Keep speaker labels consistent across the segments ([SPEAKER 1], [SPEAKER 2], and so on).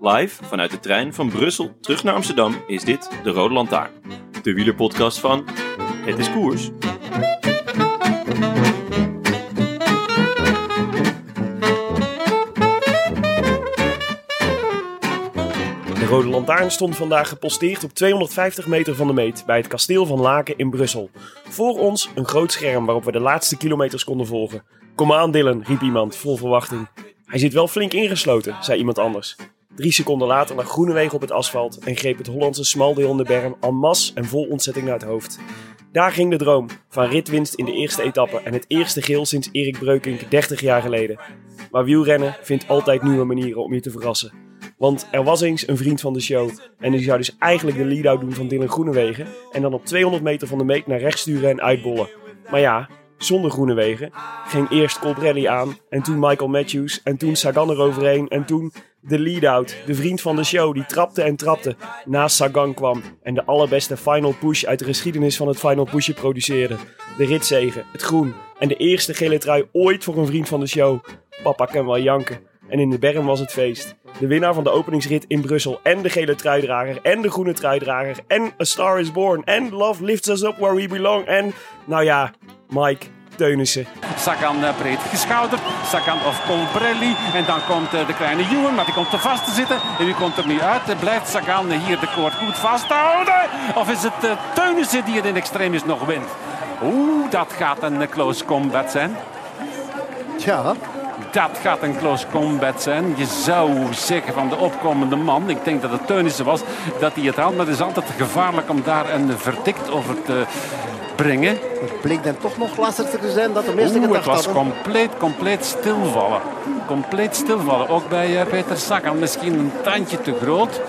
[SPEAKER 1] Live vanuit de trein van Brussel terug naar Amsterdam is dit de Rode Lantaarn. De wielerpodcast van Het is Koers.
[SPEAKER 2] De Rode Lantaarn stond vandaag geposteerd op 250 meter van de meet bij het kasteel van Laken in Brussel. Voor ons een groot scherm waarop we de laatste kilometers konden volgen. Kom aan Dylan, riep iemand, vol verwachting. Hij zit wel flink ingesloten, zei iemand anders. Drie seconden later lag Groenewegen op het asfalt en greep het Hollandse smaldeel in de berm en mas en vol ontzetting naar het hoofd. Daar ging de droom, van ritwinst in de eerste etappe en het eerste geel sinds Erik Breukink 30 jaar geleden. Maar wielrennen vindt altijd nieuwe manieren om je te verrassen. Want er was eens een vriend van de show. En die zou dus eigenlijk de lead-out doen van Dylan Groenewegen. En dan op 200 meter van de meet naar rechts sturen en uitbollen. Maar ja, zonder Groenewegen ging eerst Colbrelli aan. En toen Michael Matthews. En toen Sagan eroverheen. En toen de lead-out. De vriend van de show die trapte en trapte. Naast Sagan kwam. En de allerbeste final push uit de geschiedenis van het final pushje produceerde. De ritzegen, het groen. En de eerste gele trui ooit voor een vriend van de show. Papa kan wel janken. En in de berm was het feest. De winnaar van de openingsrit in Brussel. En de gele truidrager. En de groene truidrager. En A Star is Born. En Love Lifts Us Up Where We Belong. En, nou ja, Mike Teunissen.
[SPEAKER 3] Sagan eh, breed geschouderd. Sagan of Colbrelli. En dan komt eh, de kleine Juwen, maar die komt te vast te zitten. En die komt er nu uit. Eh, Blijft Sagan eh, hier de koord goed vasthouden? Of is het eh, Teunissen die het in extremis nog wint? Oeh, dat gaat een eh, close combat zijn.
[SPEAKER 4] Ja,
[SPEAKER 3] Dat gaat een close combat zijn. Je zou zeggen van de opkomende man, ik denk dat het Teunissen was, dat hij het haalt. Maar het is altijd gevaarlijk om daar een verdikt over te brengen.
[SPEAKER 4] het bleek dan toch nog lastiger te zijn dan de meeste
[SPEAKER 3] Oeh, het
[SPEAKER 4] gedacht
[SPEAKER 3] was
[SPEAKER 4] hadden.
[SPEAKER 3] compleet, compleet stilvallen. Compleet stilvallen. Ook bij eh, Peter Sagan. Misschien een tandje te groot.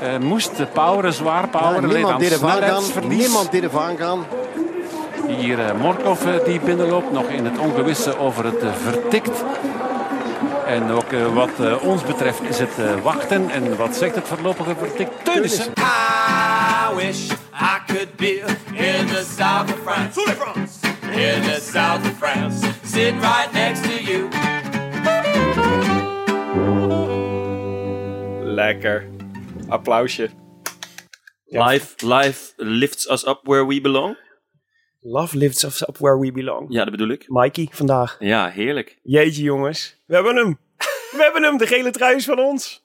[SPEAKER 3] Eh, moest de poweren zwaar.
[SPEAKER 4] Ja,
[SPEAKER 3] Poweren leed
[SPEAKER 4] niemand
[SPEAKER 3] aan
[SPEAKER 4] deed ervan gaan.
[SPEAKER 3] snelheidsverlies.
[SPEAKER 4] Niemand deed ervan gaan.
[SPEAKER 3] Hier eh, Morkov eh, die binnenloopt. Nog in het ongewisse over het eh, vertikt. En ook eh, wat eh, ons betreft is het eh, wachten. En wat zegt het voorlopige vertikt? Teunissen.
[SPEAKER 5] I wish I could be in the south of France. In the south of France. Sitting right next to you.
[SPEAKER 2] Lekker. Applausje.
[SPEAKER 1] Live, live lifts us up where we belong.
[SPEAKER 2] Love lifts us up where we belong.
[SPEAKER 1] Ja, dat bedoel ik.
[SPEAKER 2] Mikey, vandaag.
[SPEAKER 1] Ja, heerlijk.
[SPEAKER 2] Jeetje jongens. We hebben hem. We hebben hem. De gele trui is van ons.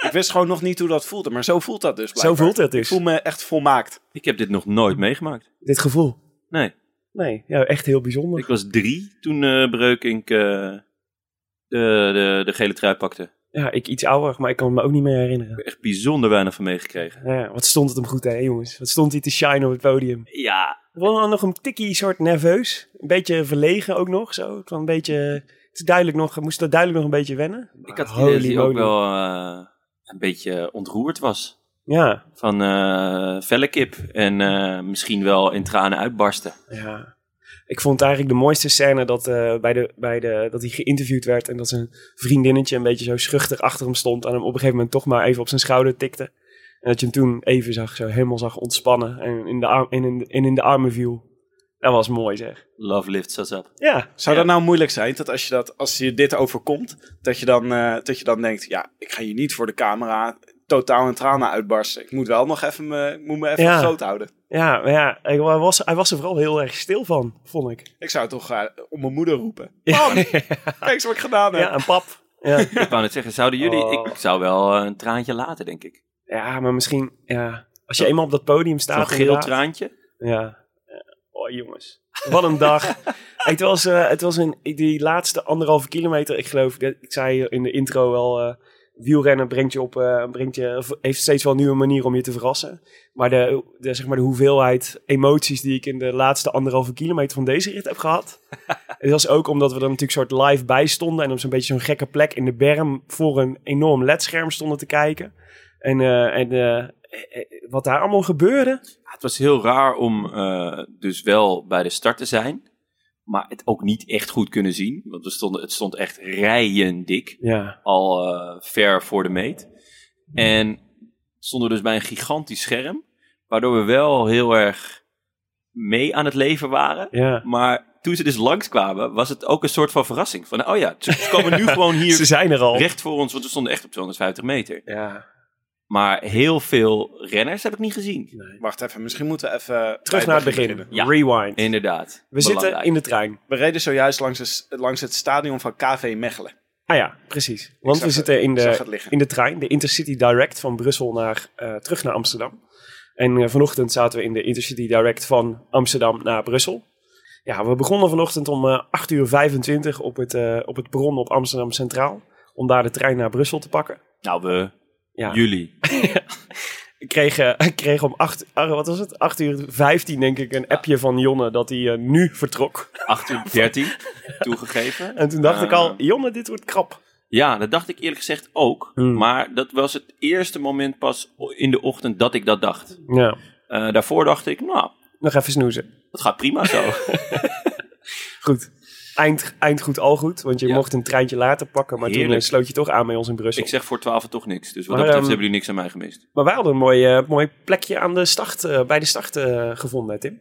[SPEAKER 6] Ik wist gewoon nog niet hoe dat voelde, maar zo voelt dat dus
[SPEAKER 2] Zo
[SPEAKER 6] blijkbaar.
[SPEAKER 2] voelt het
[SPEAKER 6] Ik
[SPEAKER 2] dus.
[SPEAKER 6] voel me echt volmaakt.
[SPEAKER 1] Ik heb dit nog nooit meegemaakt.
[SPEAKER 2] Dit gevoel.
[SPEAKER 1] Nee,
[SPEAKER 2] Nee, ja, echt heel bijzonder.
[SPEAKER 1] ik was drie toen eh Breukink eh, de, de, de gele trui pakte.
[SPEAKER 2] Ja, ik iets ouder, maar ik kan het me ook niet meer herinneren.
[SPEAKER 1] Echt bijzonder weinig van meegekregen.
[SPEAKER 2] Ja, wat stond het hem goed, hè, jongens? Wat stond hij te shine op het podium?
[SPEAKER 1] Ja,
[SPEAKER 2] Wel dan nog een tikkie soort nerveus. Een beetje verlegen ook nog. Zo. Het was een beetje. Het is duidelijk nog, moest dat duidelijk nog een beetje wennen.
[SPEAKER 1] ik had het
[SPEAKER 2] Holy
[SPEAKER 1] idee dat hij ook
[SPEAKER 2] moly.
[SPEAKER 1] wel eh, een beetje ontroerd was.
[SPEAKER 2] Ja,
[SPEAKER 1] van eh felle kip en eh, misschien wel in tranen uitbarsten.
[SPEAKER 2] ja. Ik vond eigenlijk de mooiste scène dat, eh, bij de, bij de, dat hij geïnterviewd werd. En dat zijn vriendinnetje een beetje zo schuchter achter hem stond. En hem op een gegeven moment toch maar even op zijn schouder tikte. En dat je hem toen even zag, zo helemaal zag ontspannen. En in de, arm, en in, de- en in de armen viel. Dat was mooi zeg.
[SPEAKER 1] Love lifts us up.
[SPEAKER 2] Ja,
[SPEAKER 6] Zou
[SPEAKER 2] ja.
[SPEAKER 6] dat nou moeilijk zijn, dat als je, dat, als je dit overkomt, dat je, dan, eh, dat je dan denkt, ja, ik ga hier niet voor de camera totaal in tranen uitbarsten. Ik moet wel nog even me, ik moet me even
[SPEAKER 2] Ja.
[SPEAKER 6] groot houden.
[SPEAKER 2] Ja, maar ja, hij hij was, hij was er vooral heel erg stil van, vond ik.
[SPEAKER 6] Ik zou toch eh, om mijn moeder roepen.
[SPEAKER 2] Ja.
[SPEAKER 6] Mam, kijk eens wat ik gedaan heb.
[SPEAKER 2] Ja, een pap. Ja.
[SPEAKER 1] Ik wou net zeggen, zouden jullie...
[SPEAKER 2] Oh.
[SPEAKER 1] Ik zou wel eh, een traantje laten, denk ik.
[SPEAKER 2] ja, maar misschien, ja, als je eenmaal op dat podium staat.
[SPEAKER 1] Zo'n geel
[SPEAKER 2] inderdaad.
[SPEAKER 1] traantje.
[SPEAKER 2] Ja. Oh, jongens. Wat een dag. het was, eh, het was een, die laatste anderhalve kilometer. Ik geloof, dat- ik zei in de intro wel... eh, wielrennen brengt je op, eh, brengt je, heeft steeds wel een nieuwe manier om je te verrassen. Maar de, de, zeg maar de hoeveelheid emoties die ik in de laatste anderhalve kilometer van deze rit heb gehad. het was ook omdat we er natuurlijk soort live bij stonden. En op zo'n beetje zo'n gekke plek in de berm voor een enorm ledscherm stonden te kijken. En, eh, en eh, eh, eh, wat daar allemaal gebeurde.
[SPEAKER 1] Ja, het was heel raar om eh, dus wel bij de start te zijn. Maar het ook niet echt goed kunnen zien. Want we stonden, het stond echt rijen dik.
[SPEAKER 2] Ja,
[SPEAKER 1] al eh, ver voor de meet. En stonden we dus bij een gigantisch scherm, waardoor we wel heel erg mee aan het leven waren.
[SPEAKER 2] ja.
[SPEAKER 1] Maar toen ze dus langskwamen, was het ook een soort van verrassing. Van, oh ja, ze ze komen nu gewoon
[SPEAKER 2] Ze
[SPEAKER 1] hier
[SPEAKER 2] zijn er al.
[SPEAKER 1] recht voor ons, want we stonden echt op 250 meter.
[SPEAKER 2] Ja.
[SPEAKER 1] Maar heel veel renners heb ik niet gezien.
[SPEAKER 6] Wacht even, misschien moeten we even...
[SPEAKER 2] Terug naar het begin.
[SPEAKER 6] beginnen.
[SPEAKER 1] Ja.
[SPEAKER 2] Rewind.
[SPEAKER 1] Inderdaad.
[SPEAKER 2] We zitten
[SPEAKER 1] belangrijk.
[SPEAKER 2] in de trein.
[SPEAKER 6] We reden zojuist langs, de s- langs het stadion van KV Mechelen.
[SPEAKER 2] Ah ja, precies. Want
[SPEAKER 6] zag
[SPEAKER 2] we
[SPEAKER 6] het-
[SPEAKER 2] zitten in
[SPEAKER 6] ik zag
[SPEAKER 2] de,
[SPEAKER 6] het liggen.
[SPEAKER 2] in de trein, de Intercity Direct van Brussel naar, eh, terug naar Amsterdam. En eh, vanochtend zaten we in de Intercity Direct van Amsterdam naar Brussel. Ja, we begonnen vanochtend om eh 8 uur 25 op het, eh, op het bron op Amsterdam Centraal. Om daar de trein naar Brussel te pakken.
[SPEAKER 1] Nou, we,
[SPEAKER 2] Ja.
[SPEAKER 1] jullie.
[SPEAKER 2] Ik kreeg, eh, ik kreeg om 8, wat was het? 8 uur 15 denk ik een appje van Jonne dat hij eh, nu vertrok.
[SPEAKER 1] 8 uur 13 toegegeven.
[SPEAKER 2] En toen dacht ik
[SPEAKER 1] Eh,
[SPEAKER 2] al, Jonne dit wordt krap.
[SPEAKER 1] Ja, dat dacht ik eerlijk gezegd ook.
[SPEAKER 2] Hmm.
[SPEAKER 1] Maar dat was het eerste moment pas o- in de ochtend dat ik dat dacht.
[SPEAKER 2] Ja.
[SPEAKER 1] Eh, daarvoor dacht ik, nou,
[SPEAKER 2] Nog even snoezen.
[SPEAKER 1] dat gaat prima zo.
[SPEAKER 2] Goed. Eind, eind goed, al goed. Want je
[SPEAKER 1] Ja.
[SPEAKER 2] mocht een treintje later pakken. Maar toen
[SPEAKER 1] Heerlijk.
[SPEAKER 2] eh, sloot je toch aan bij ons in Brussel.
[SPEAKER 1] ik zeg voor 12 toch niks. Dus wat dat
[SPEAKER 2] Maar,
[SPEAKER 1] betreft
[SPEAKER 2] ehm,
[SPEAKER 1] hebben jullie niks aan mij gemist.
[SPEAKER 2] Maar wij hadden een mooi, eh, mooi plekje aan de start, eh, bij de start eh, gevonden, hè, Tim.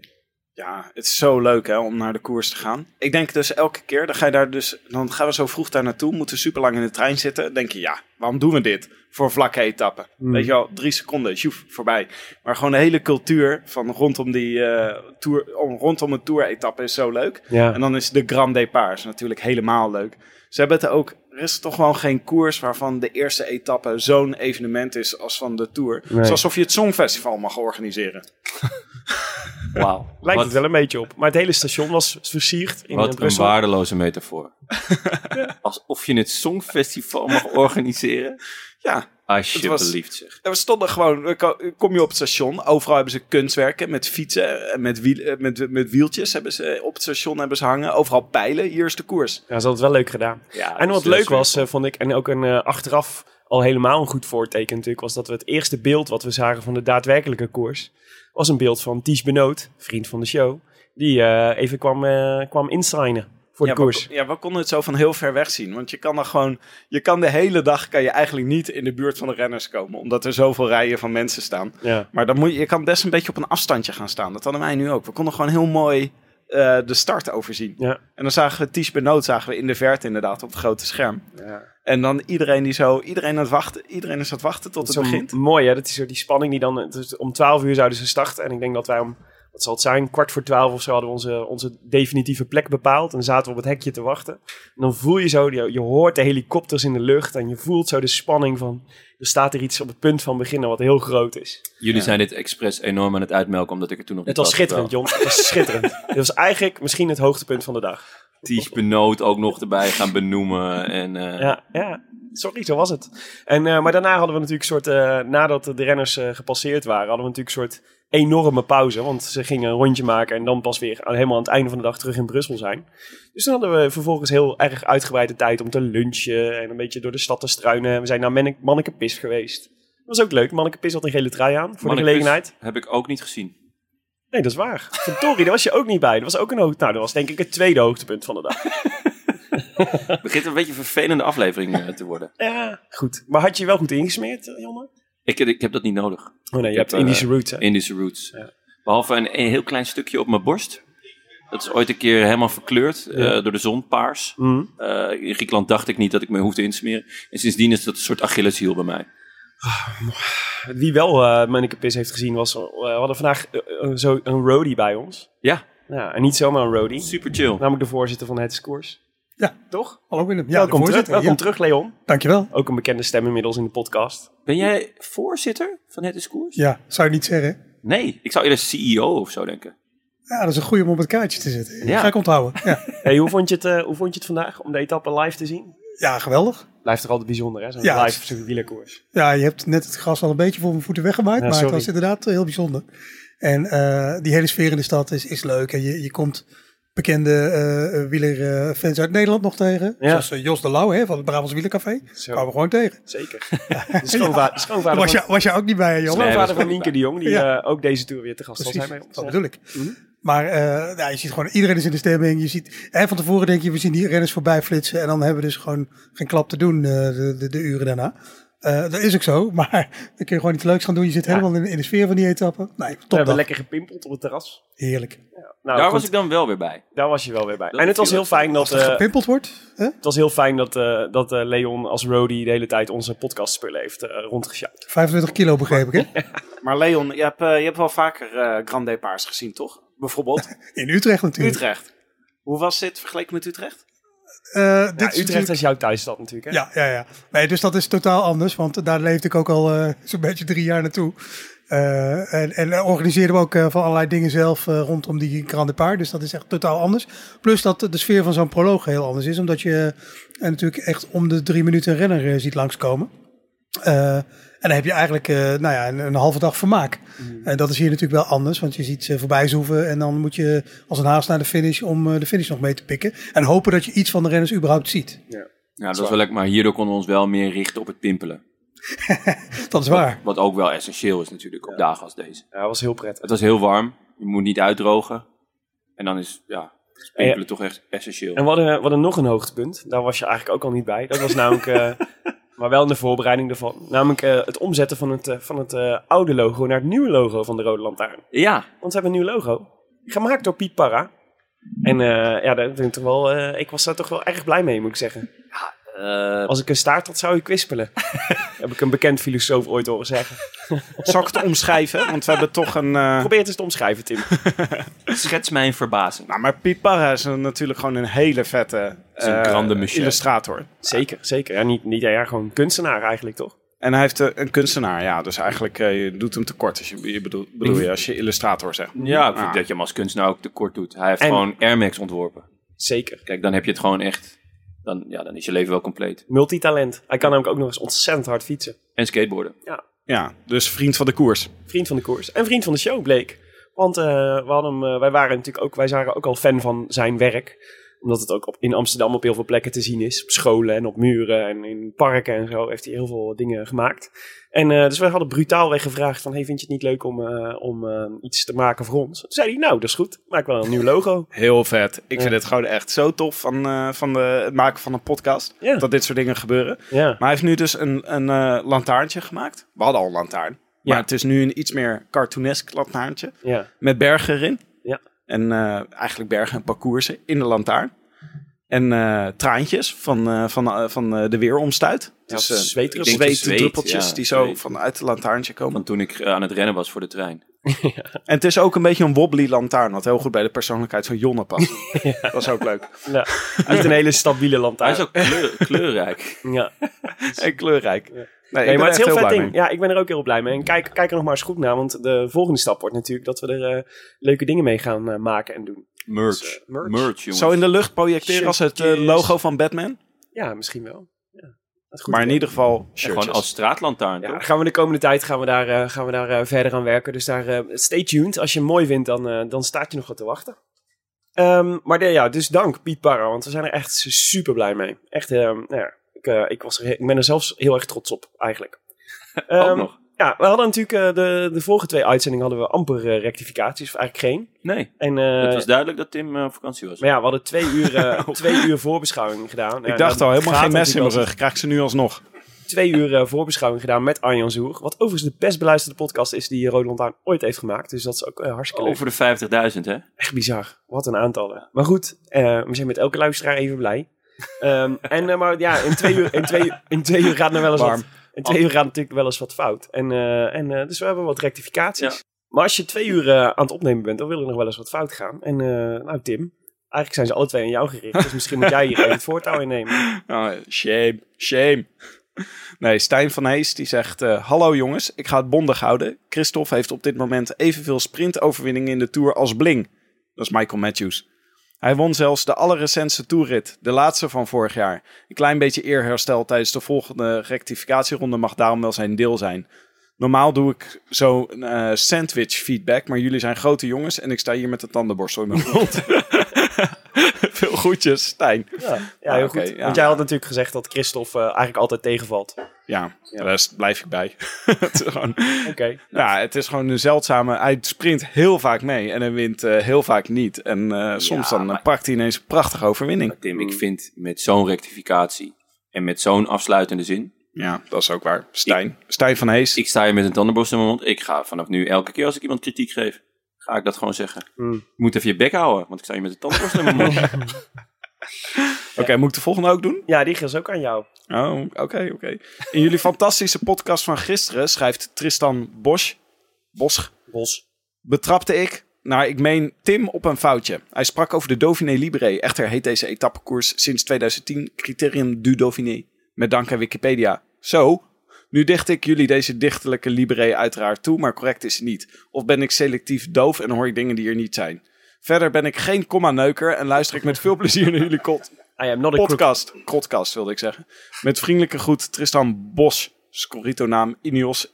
[SPEAKER 6] Ja, het is zo leuk hè, om naar de koers te gaan. Ik denk dus elke keer, dan, ga je daar dus, dan gaan we zo vroeg daar naartoe, moeten super lang in de trein zitten. Dan denk je, ja, waarom doen we dit? Voor een vlakke etappe. Weet je wel, drie seconden, sjoef, voorbij. Maar gewoon de hele cultuur van rondom, die, eh, tour, om, rondom een tour-etappe is zo leuk.
[SPEAKER 2] Ja.
[SPEAKER 6] En dan is de Grand Départ natuurlijk helemaal leuk. Ze hebben het ook, er is toch gewoon geen koers waarvan de eerste etappe zo'n evenement is als van de Tour. Het is alsof je het Songfestival mag organiseren.
[SPEAKER 1] Wauw.
[SPEAKER 2] Lijkt
[SPEAKER 1] Wat,
[SPEAKER 2] het wel een beetje op. Maar het hele station was versierd in eh,
[SPEAKER 1] wat een
[SPEAKER 2] Brussel.
[SPEAKER 1] waardeloze metafoor. Alsof je het Songfestival mag organiseren.
[SPEAKER 6] Ja,
[SPEAKER 1] Alsjeblieft zeg.
[SPEAKER 6] En we stonden gewoon, we ko- kom je op het station, overal hebben ze kunstwerken met fietsen, en met, wiel, eh, met, met wieltjes hebben ze op het station hebben ze hangen, overal pijlen, hier is de koers.
[SPEAKER 2] Ja, ze hadden het wel leuk gedaan.
[SPEAKER 1] Ja, dat
[SPEAKER 2] en wat
[SPEAKER 1] is heel
[SPEAKER 2] leuk
[SPEAKER 1] sweet.
[SPEAKER 2] was, eh, vond ik, en ook een eh, achteraf al helemaal een goed voorteken natuurlijk, was dat we het eerste beeld wat we zagen van de daadwerkelijke koers, was een beeld van Ties Benoot, vriend van de show, die eh, even kwam, eh, kwam insignen voor
[SPEAKER 6] ja,
[SPEAKER 2] de koers.
[SPEAKER 6] We, ja, we konden het zo van heel ver weg zien, want je kan dan gewoon, je kan de hele dag kan je eigenlijk niet in de buurt van de renners komen, omdat er zoveel rijen van mensen staan.
[SPEAKER 2] Ja.
[SPEAKER 6] Maar dan moet je, je kan best een beetje op een afstandje gaan staan, dat hadden wij nu ook. We konden gewoon heel mooi eh, de start overzien.
[SPEAKER 2] Ja.
[SPEAKER 6] En dan zagen we Ties Benoot zagen we in de verte inderdaad op het grote scherm.
[SPEAKER 2] Ja.
[SPEAKER 6] En dan iedereen die zo, iedereen aan het wachten, iedereen is aan het wachten tot het
[SPEAKER 2] zo
[SPEAKER 6] begint.
[SPEAKER 2] Mooi, hè? Dat is zo die spanning die dan... dus om 12 uur zouden ze starten. En ik denk dat wij om, wat zal het zijn, kwart voor 12 of zo... hadden we onze, onze definitieve plek bepaald. En zaten we op het hekje te wachten. En dan voel je zo, je, je hoort de helikopters in de lucht... en je voelt zo de spanning van... er staat er iets op het punt van beginnen wat heel groot is.
[SPEAKER 1] Jullie zijn dit expres enorm aan het uitmelken, omdat ik er toen nog
[SPEAKER 2] Het
[SPEAKER 1] niet
[SPEAKER 2] was schitterend, Jon. Het was schitterend. Het was eigenlijk misschien het hoogtepunt van de dag.
[SPEAKER 1] Ties Benoot ook nog erbij gaan benoemen. En, eh,
[SPEAKER 2] Ja, ja. Sorry, zo was het. En, eh, maar daarna hadden we natuurlijk een soort... eh, nadat de renners eh, gepasseerd waren... hadden we natuurlijk een soort enorme pauze. Want ze gingen een rondje maken... en dan pas weer aan, helemaal aan het einde van de dag terug in Brussel zijn. Dus dan hadden we vervolgens heel erg uitgebreide tijd... om te lunchen en een beetje door de stad te struinen. We zijn naar Mannek- Mannekepis geweest. Dat was ook leuk. Mannekepis had een gele trui aan voor
[SPEAKER 1] Mannekes
[SPEAKER 2] de gelegenheid.
[SPEAKER 1] Heb ik ook niet gezien.
[SPEAKER 2] Nee, dat is waar. Verdorie, daar was je ook niet bij. Dat was ook een hoogte. Nou, dat was denk ik het tweede hoogtepunt van de dag.
[SPEAKER 1] Het begint een beetje een vervelende aflevering eh, te worden.
[SPEAKER 2] Ja, goed. Maar had je je wel goed ingesmeerd, eh, Jonne?
[SPEAKER 1] Ik, ik heb dat niet nodig.
[SPEAKER 2] Oh nee,
[SPEAKER 1] Ik
[SPEAKER 2] je hebt
[SPEAKER 1] heb,
[SPEAKER 2] Indische
[SPEAKER 1] eh,
[SPEAKER 2] roots, hè?
[SPEAKER 1] Indische roots.
[SPEAKER 2] Ja.
[SPEAKER 1] Behalve een, een heel klein stukje op mijn borst. Dat is ooit een keer helemaal verkleurd eh, door de zon, paars.
[SPEAKER 2] Mhm.
[SPEAKER 1] Eh, in Griekenland dacht ik niet dat ik me hoefde in te smeren. En sindsdien is dat een soort Achilleshiel bij mij.
[SPEAKER 2] Wie wel eh Manneke Piss heeft gezien was... eh, we hadden vandaag eh, eh, zo een roadie bij ons.
[SPEAKER 1] Ja,
[SPEAKER 2] Ja, en niet zomaar een roadie.
[SPEAKER 1] super chill.
[SPEAKER 2] Namelijk de voorzitter van het Scores.
[SPEAKER 7] Ja.
[SPEAKER 2] Toch?
[SPEAKER 7] Hallo Willem. Ja,
[SPEAKER 2] welkom
[SPEAKER 7] de
[SPEAKER 2] terug,
[SPEAKER 7] voorzitter.
[SPEAKER 2] welkom terug, Leon.
[SPEAKER 7] Ja, dankjewel.
[SPEAKER 2] Ook een bekende stem inmiddels in de podcast.
[SPEAKER 1] Ben jij voorzitter van het discours?
[SPEAKER 7] Ja, zou je niet zeggen.
[SPEAKER 1] Nee, ik zou eerder CEO of zo denken.
[SPEAKER 7] Ja, dat is een goede om op het kaartje te zetten.
[SPEAKER 1] Ja.
[SPEAKER 7] Ga ik onthouden. Ja,
[SPEAKER 2] Hey, hoe, vond je het, eh, hoe vond je het vandaag om de etappe live te zien?
[SPEAKER 7] ja geweldig.
[SPEAKER 2] Blijft toch altijd bijzonder, hè? Zo'n
[SPEAKER 7] Ja, het is
[SPEAKER 2] live wielerkoers.
[SPEAKER 7] Ja, je hebt net het gras al een beetje voor mijn voeten weggemaakt.
[SPEAKER 2] Ja,
[SPEAKER 7] maar
[SPEAKER 2] sorry.
[SPEAKER 7] het was inderdaad eh, heel bijzonder. En eh, die hele sfeer in de stad is, is leuk. En je, je komt bekende eh wielerfans uit Nederland nog tegen.
[SPEAKER 2] Ja.
[SPEAKER 7] Zoals eh, Jos de Lauw hè, van het Brabants Wielercafé.
[SPEAKER 2] Zo.
[SPEAKER 7] Kwamen we gewoon tegen.
[SPEAKER 2] Zeker. De schoonva- de
[SPEAKER 7] Daar
[SPEAKER 2] schoonvader
[SPEAKER 7] was,
[SPEAKER 2] van,
[SPEAKER 7] jij- was jij ook niet bij, hè,
[SPEAKER 2] de
[SPEAKER 7] Jan?
[SPEAKER 2] schoonvader van Nienke de Jong, die
[SPEAKER 7] Ja.
[SPEAKER 2] eh, ook deze tour weer te gast was.
[SPEAKER 7] Precies,
[SPEAKER 2] Hij mee Mhm. op-
[SPEAKER 7] dat bedoel ik. Maar eh, nou, je ziet gewoon, iedereen is in de stemming. Je ziet, hè, van tevoren denk je, we zien die renners voorbij flitsen. En dan hebben we dus gewoon geen klap te doen eh, de, de, de uren daarna. Eh, dat is ook zo, maar dan kun je gewoon iets leuks gaan doen. Je zit helemaal in, in de sfeer van die etappe. Nee,
[SPEAKER 2] We
[SPEAKER 7] top
[SPEAKER 2] hebben
[SPEAKER 7] dag.
[SPEAKER 2] lekker gepimpeld op het terras.
[SPEAKER 7] Heerlijk.
[SPEAKER 2] Nou,
[SPEAKER 1] Daar
[SPEAKER 2] goed,
[SPEAKER 1] was ik dan wel weer bij.
[SPEAKER 2] daar was je wel weer bij.
[SPEAKER 1] Dat
[SPEAKER 2] en het was
[SPEAKER 1] viel
[SPEAKER 2] heel fijn dat,
[SPEAKER 7] Als het
[SPEAKER 2] eh,
[SPEAKER 7] gepimpeld wordt, hè?
[SPEAKER 2] het was heel fijn dat, eh, dat eh, Leon als roadie de hele tijd onze podcastspullen heeft eh rondgesjouwd.
[SPEAKER 7] 25 kilo begreep ik, hè?
[SPEAKER 6] Maar Leon, je hebt, eh, je hebt wel vaker eh Grand Départs gezien, toch? Bijvoorbeeld
[SPEAKER 7] In Utrecht natuurlijk.
[SPEAKER 6] Utrecht. Hoe was dit vergeleken met Utrecht?
[SPEAKER 7] Eh, dit
[SPEAKER 2] Ja,
[SPEAKER 7] is
[SPEAKER 2] Utrecht is jouw thuisstad natuurlijk, hè?
[SPEAKER 7] Ja, ja, ja. Nee, dus dat is totaal anders, want daar leefde ik ook al eh, zo'n beetje drie jaar naartoe. Eh, en, en organiseerden we ook eh, van allerlei dingen zelf eh, rondom die Grand Depart. Dus dat is echt totaal anders. Plus dat de sfeer van zo'n proloog heel anders is. Omdat je eh, natuurlijk echt om de drie minuten een renner eh, ziet langskomen. Eh, en dan heb je eigenlijk eh, nou ja, een, een halve dag vermaak.
[SPEAKER 1] Mm.
[SPEAKER 7] En dat is hier natuurlijk wel anders, want je ziet ze voorbij zoeven. En dan moet je als een haast naar de finish om eh, de finish nog mee te pikken. En hopen dat je iets van de renners überhaupt ziet.
[SPEAKER 1] Ja, dat was wel lekker, maar hierdoor konden we ons wel meer richten op het pimpelen.
[SPEAKER 7] Dat
[SPEAKER 2] Oh.
[SPEAKER 7] is waar.
[SPEAKER 1] Wat ook wel essentieel is natuurlijk op dagen als deze.
[SPEAKER 2] Ja, dat was heel prettig.
[SPEAKER 1] Het was heel warm, je moet niet uitdrogen. En dan is, ja, is pimpelen toch echt essentieel.
[SPEAKER 2] En we hadden, we hadden nog een hoogtepunt. Daar was je eigenlijk ook al niet bij. Dat was namelijk, eh, maar wel in de voorbereiding daarvan. Namelijk eh, het omzetten van het, eh, van het eh, oude logo naar het nieuwe logo van de Rode Lantaarn.
[SPEAKER 1] Ja,
[SPEAKER 2] Want we hebben een nieuw logo. Gemaakt door Piet Parra. En eh, ja, dat vind ik, toch wel, eh, ik was daar toch wel erg blij mee, moet ik zeggen. Als ik een staart had, zou ik kwispelen. Heb ik een bekend filosoof ooit horen zeggen.
[SPEAKER 6] Zal ik het omschrijven? Want we hebben toch een... eh,
[SPEAKER 2] Probeer het eens te omschrijven, Tim.
[SPEAKER 1] schets mijn verbazing.
[SPEAKER 6] Nou, maar Piet Parra is een- natuurlijk gewoon een hele vette
[SPEAKER 1] is een
[SPEAKER 6] eh,
[SPEAKER 1] grande monsieur.
[SPEAKER 6] illustrator.
[SPEAKER 2] Zeker, zeker. Ja, niet, niet, ja, gewoon kunstenaar eigenlijk, toch?
[SPEAKER 6] En hij heeft eh, een kunstenaar, ja. Dus eigenlijk eh, je doet hem tekort als je, je bedoel, bedoel je als je illustrator zegt.
[SPEAKER 1] Ja, ik vind
[SPEAKER 6] Ah.
[SPEAKER 1] dat je hem als kunstenaar ook tekort doet. Hij heeft
[SPEAKER 2] En-
[SPEAKER 1] gewoon Air Max ontworpen.
[SPEAKER 2] Zeker.
[SPEAKER 1] Kijk, dan heb je het gewoon echt... Dan, ja, dan is je leven wel compleet.
[SPEAKER 2] Multitalent. Hij kan namelijk ook nog eens ontzettend hard fietsen.
[SPEAKER 1] En skateboarden.
[SPEAKER 6] Ja, dus vriend van de koers.
[SPEAKER 2] Vriend van de koers. En vriend van de show bleek. Want eh, we hadden hem, eh, wij waren natuurlijk ook, wij waren ook al fan van zijn werk. Omdat het ook op, in Amsterdam op heel veel plekken te zien is. Op scholen en op muren en in parken en zo heeft hij heel veel dingen gemaakt. En eh, dus wij hadden brutaalweg gevraagd van, hey, vind je het niet leuk om, eh, om eh, iets te maken voor ons? Toen zei hij, nou, dat is goed. Maak wel een nieuw logo.
[SPEAKER 6] Heel vet. Ik
[SPEAKER 2] Ja.
[SPEAKER 6] vind het gewoon echt zo tof van, eh, van de, het maken van een podcast.
[SPEAKER 2] Ja.
[SPEAKER 6] Dat dit soort dingen gebeuren.
[SPEAKER 2] Ja.
[SPEAKER 6] Maar hij heeft nu dus een, een eh, lantaarntje gemaakt. We hadden al een lantaarn. Maar
[SPEAKER 2] Ja.
[SPEAKER 6] het is nu een iets meer cartoonesk lantaarntje.
[SPEAKER 2] Ja.
[SPEAKER 6] Met bergen erin.
[SPEAKER 2] Ja.
[SPEAKER 6] En eh, eigenlijk bergen en parcoursen in de lantaarn. En eh, traantjes van, eh, van, eh, van eh, de weeromstuit. Dus eh,
[SPEAKER 2] zweetdruppeltjes.
[SPEAKER 6] ik denk de
[SPEAKER 1] Zweet,
[SPEAKER 6] zweetdruppeltjes
[SPEAKER 1] ja,
[SPEAKER 6] die zo
[SPEAKER 1] zweet.
[SPEAKER 6] vanuit het lantaarntje komen.
[SPEAKER 1] Van toen ik eh, aan het rennen was voor de trein.
[SPEAKER 6] En het is ook een beetje een wobbly lantaarn. Wat heel goed bij de persoonlijkheid van Jonne past. Dat was ook leuk.
[SPEAKER 2] Ja. Niet een hele stabiele
[SPEAKER 1] Hij is
[SPEAKER 2] lantaarn.
[SPEAKER 1] ook kleur- kleurrijk.
[SPEAKER 2] Ja.
[SPEAKER 6] En kleurrijk. Nee, ik
[SPEAKER 2] Nee,
[SPEAKER 6] ben
[SPEAKER 2] maar het is
[SPEAKER 6] echt
[SPEAKER 2] heel vet
[SPEAKER 6] blij
[SPEAKER 2] ding.
[SPEAKER 6] mee.
[SPEAKER 2] Ja, ik ben er ook heel blij mee. En kijk, kijk er nog maar eens goed naar, want de volgende stap wordt natuurlijk dat we er eh, leuke dingen mee gaan eh, maken en doen.
[SPEAKER 1] Merch.
[SPEAKER 2] Dus, eh, merch.
[SPEAKER 1] merch. jongens.
[SPEAKER 6] Zo in de lucht projecteren als het eh,
[SPEAKER 2] Shirtjes.
[SPEAKER 6] logo van Batman.
[SPEAKER 2] Ja, misschien wel. Ja, dat is goed.
[SPEAKER 6] maar in ieder geval shirtjes.
[SPEAKER 1] Gewoon als straatlantaarn,
[SPEAKER 2] Ja,
[SPEAKER 1] toch?
[SPEAKER 2] gaan we de komende tijd gaan we daar, eh, gaan we daar eh, verder aan werken. Dus daar, eh, stay tuned. Als je hem mooi vindt, dan, eh, dan staat je nog wat te wachten. Ehm, maar de- ja, dus dank Piet Parra, want we zijn er echt super blij mee. Echt, ehm, nou ja, ik, eh, ik, was er, he- ik ben er zelfs heel erg trots op, eigenlijk. Ehm,
[SPEAKER 1] nog.
[SPEAKER 2] Ja, Ja, we hadden natuurlijk eh, de, de vorige twee uitzendingen hadden we amper eh, rectificaties, of eigenlijk geen.
[SPEAKER 1] Nee,
[SPEAKER 2] En, eh,
[SPEAKER 1] het was duidelijk dat Tim eh, op vakantie was.
[SPEAKER 2] maar ja, we hadden twee uur, eh, twee uur voorbeschouwing gedaan. Eh,
[SPEAKER 6] Ik dacht al, helemaal geen mes in mijn
[SPEAKER 2] rug.
[SPEAKER 6] rug. Krijg ik ze nu alsnog.
[SPEAKER 2] twee uur eh, voorbeschouwing gedaan met Arjan Zoer. Wat overigens de best beluisterde podcast is die Rode Lantaarn ooit heeft gemaakt. Dus dat is ook eh,
[SPEAKER 6] Oh,
[SPEAKER 2] hartstikke leuk.
[SPEAKER 1] Over de 50.000, hè?
[SPEAKER 2] Echt bizar. Wat een aantallen. Maar goed, eh, we zijn met elke luisteraar even blij. Ehm, en eh, maar ja, in twee uur, in twee, uur- in twee uur gaat er wel eens wat... In twee uur gaat natuurlijk wel eens wat fout. En, eh, en, eh, dus we hebben wat rectificaties.
[SPEAKER 1] Ja.
[SPEAKER 2] Maar als je twee uur eh, aan het opnemen bent, dan wil er nog wel eens wat fout gaan. En eh, nou Tim, eigenlijk zijn ze alle twee aan jou gericht. Dus misschien moet jij hier even het voortouw innemen.
[SPEAKER 6] Oh, shame, shame. Nee, Stijn van Hees die zegt... eh, Hallo jongens, ik ga het bondig houden. Christophe heeft op dit moment evenveel sprintoverwinningen in de Tour als Bling. Dat is Michael Matthews. Hij won zelfs de allerrecentste toerrit, de laatste van vorig jaar. Een klein beetje eerherstel tijdens de volgende rectificatieronde mag daarom wel zijn deel zijn. Normaal doe ik zo'n eh, sandwich feedback, maar jullie zijn grote jongens en ik sta hier met de tandenborstel in mijn mond. Veel groetjes, Stijn.
[SPEAKER 2] Ja, ja heel
[SPEAKER 6] oké,
[SPEAKER 2] goed.
[SPEAKER 6] ja.
[SPEAKER 2] Want jij had natuurlijk gezegd dat Christophe eh, eigenlijk altijd tegenvalt. Oké.
[SPEAKER 6] Ja, daar s- blijf ik bij. het, is gewoon, ja, het is gewoon een zeldzame. Hij sprint heel vaak mee en hij wint eh, heel vaak niet. En eh, soms dan eh, pakt hij ineens een prachtige overwinning.
[SPEAKER 1] Maar Tim, ik vind met zo'n rectificatie en met zo'n afsluitende zin...
[SPEAKER 6] Ja, dat is ook waar. Stijn. Stijn van Hees.
[SPEAKER 1] Ik sta hier met een tandenborstel in mijn mond. Ik ga vanaf nu elke keer als ik iemand kritiek geef, ga ik dat gewoon zeggen.
[SPEAKER 6] Mm.
[SPEAKER 1] Je moet even je bek houden, want ik sta hier met een tandenborstel in mijn mond.
[SPEAKER 6] Oké, moet ik de volgende ook doen?
[SPEAKER 2] Ja, die is ook aan jou.
[SPEAKER 6] Oh, oké, oké. In jullie fantastische podcast van gisteren schrijft Tristan Bosch. Bosch.
[SPEAKER 2] Bos.
[SPEAKER 6] betrapte ik, nou ik meen Tim, op een foutje. Hij sprak over de Dauphiné Libre. Echter heet deze etappekoers sinds 2010 Criterium du Dauphiné. Met dank aan Wikipedia. Zo, nu dicht ik jullie deze dichtelijke Libre uiteraard toe, maar correct is het niet. Of ben ik selectief doof en hoor ik dingen die er niet zijn. Verder ben ik geen komma-neuker en luister ik met veel plezier naar jullie kot
[SPEAKER 2] I am not a crook.
[SPEAKER 6] podcast. Krotkast wilde ik zeggen. Met vriendelijke groet Tristan Bos, Scorrito naam Ineos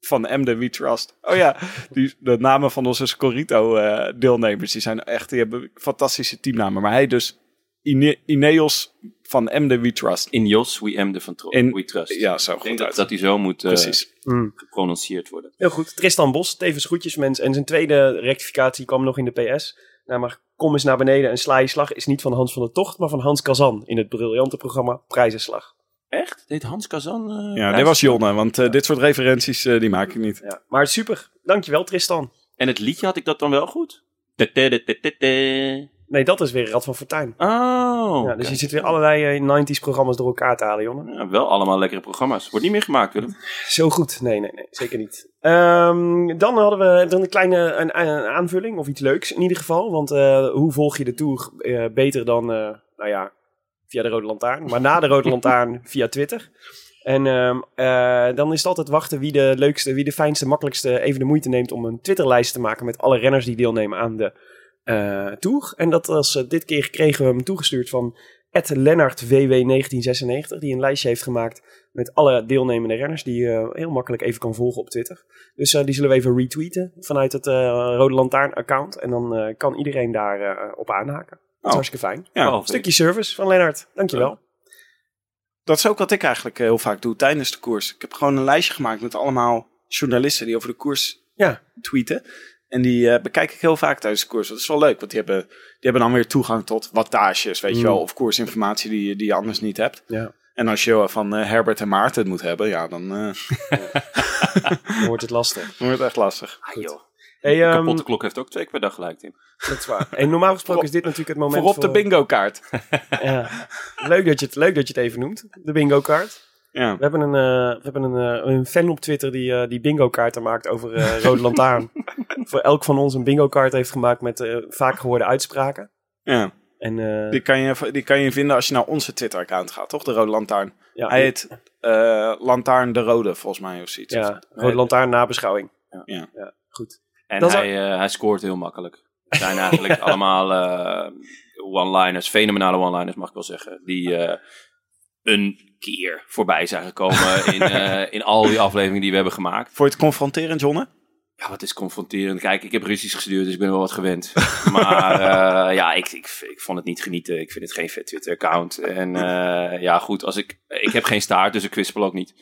[SPEAKER 6] van MD We Trust. Oh ja, die, de namen van onze Scorrito eh, deelnemers, die zijn echt, die hebben fantastische teamnamen. Maar hij dus Ine- Ineos van MD We Trust.
[SPEAKER 1] In Jos, we am the van tro-
[SPEAKER 6] In-
[SPEAKER 1] we trust.
[SPEAKER 6] ja, zo
[SPEAKER 1] Ik denk
[SPEAKER 6] goed
[SPEAKER 1] dat,
[SPEAKER 6] uit.
[SPEAKER 1] dat die zo moet eh,
[SPEAKER 6] Precies.
[SPEAKER 1] geprononceerd worden.
[SPEAKER 2] Heel goed. Tristan Bos, tevens groetjesmens. En zijn tweede rectificatie kwam nog in de PS. Nou, maar kom eens naar beneden en sla je slag is niet van Hans van der Tocht, maar van Hans Kazan in het briljante programma Prijzenslag.
[SPEAKER 1] Echt? Deed Hans Kazan... eh,
[SPEAKER 6] Ja,
[SPEAKER 1] prijs?
[SPEAKER 6] dit was Jonne, want eh, dit soort referenties eh, die maak ik niet.
[SPEAKER 2] Ja. Maar super. Dankjewel Tristan.
[SPEAKER 1] En het liedje had ik dat dan wel goed? Te-te-te-te-te.
[SPEAKER 2] Nee, dat is weer Rad van Fortuin.
[SPEAKER 1] Oh,
[SPEAKER 2] Ja,
[SPEAKER 1] oké.
[SPEAKER 2] dus je zit weer allerlei eh, 90s programma's door elkaar te halen, jongen.
[SPEAKER 1] Ja, wel allemaal lekkere programma's. Wordt niet meer gemaakt, Willem.
[SPEAKER 6] Ehm,
[SPEAKER 2] Zo goed. Nee, nee, nee. Zeker niet. Ehm, dan hadden we dan een kleine een, een aanvulling of iets leuks in ieder geval. Want eh, hoe volg je de Tour eh, beter dan, eh, nou ja, via de Rode Lantaarn. Maar na de Rode Lantaarn via Twitter. En ehm, eh, dan is het altijd wachten wie de leukste, wie de fijnste, makkelijkste even de moeite neemt om een Twitterlijst te maken met alle renners die deelnemen aan de eh, Tour. En dat was eh, dit keer kregen we hem toegestuurd van LennartWW1996, die een lijstje heeft gemaakt met alle deelnemende renners die je eh, heel makkelijk even kan volgen op Twitter. Dus eh, die zullen we even retweeten vanuit het eh, Rode Lantaarn account. En dan eh, kan iedereen daar eh, op aanhaken. Dat is
[SPEAKER 6] Oh.
[SPEAKER 2] hartstikke fijn.
[SPEAKER 6] Ja,
[SPEAKER 1] Oh,
[SPEAKER 2] Stukje service van Lennart. Dankjewel.
[SPEAKER 6] dat is ook wat ik eigenlijk eh, heel vaak doe tijdens de koers. Ik heb gewoon een lijstje gemaakt met allemaal journalisten die over de koers
[SPEAKER 2] Ja.
[SPEAKER 6] tweeten. En die eh, bekijk ik heel vaak tijdens de koers. Dat is wel leuk, want die hebben, die hebben dan weer toegang tot wattages,
[SPEAKER 2] Mm.
[SPEAKER 6] weet je wel. Of koersinformatie die, je- die je anders niet hebt.
[SPEAKER 2] Ja.
[SPEAKER 6] En als je eh, van eh, Herbert en Maarten het moet hebben, ja, dan eh,
[SPEAKER 2] Dan wordt het lastig.
[SPEAKER 6] wordt het echt lastig.
[SPEAKER 1] Ah, joh.
[SPEAKER 2] Hey,
[SPEAKER 1] De
[SPEAKER 2] ehm,
[SPEAKER 1] kapotte klok heeft ook twee keer per dag gelijk, Tim.
[SPEAKER 2] dat is waar. En normaal gesproken is dit natuurlijk het moment
[SPEAKER 6] Voorop de
[SPEAKER 2] voor-
[SPEAKER 6] bingo kaart.
[SPEAKER 2] Ja. Leuk, dat je het, leuk dat je het even noemt. De bingo kaart.
[SPEAKER 6] Ja.
[SPEAKER 2] We hebben een, eh, we hebben een, eh, een fan op Twitter die, eh, die bingo kaarten maakt over eh, Rode Lantaarn. voor elk van ons een bingo kaart heeft gemaakt met eh, vaak gehoorde uitspraken.
[SPEAKER 6] ja.
[SPEAKER 2] En eh,
[SPEAKER 6] Die, kan je, die kan je vinden als je naar onze Twitter-account gaat, toch? De Rode Lantaarn.
[SPEAKER 2] ja,
[SPEAKER 6] Hij heet eh, Lantaarn de Rode, volgens mij, of zoiets.
[SPEAKER 2] ja, Rode Lantaarn nabeschouwing.
[SPEAKER 6] Ja.
[SPEAKER 2] goed.
[SPEAKER 1] En
[SPEAKER 2] Dat is
[SPEAKER 1] hij, eh, hij scoort heel makkelijk. Het zijn eigenlijk allemaal eh, one-liners, fenomenale one-liners mag ik wel zeggen, die eh, een keer voorbij zijn gekomen in, eh, in al die afleveringen die we hebben gemaakt.
[SPEAKER 6] Vond je het confronterend, Jonne?
[SPEAKER 1] Ja, wat is confronterend. Kijk, ik heb Russisch gestudeerd, dus ik ben wel wat gewend. Maar eh, ja, ik, ik, ik vond het niet genieten. Ik vind het geen vet Twitter-account. En eh, ja, goed, als ik, ik heb geen staart, dus ik kwispel ook niet.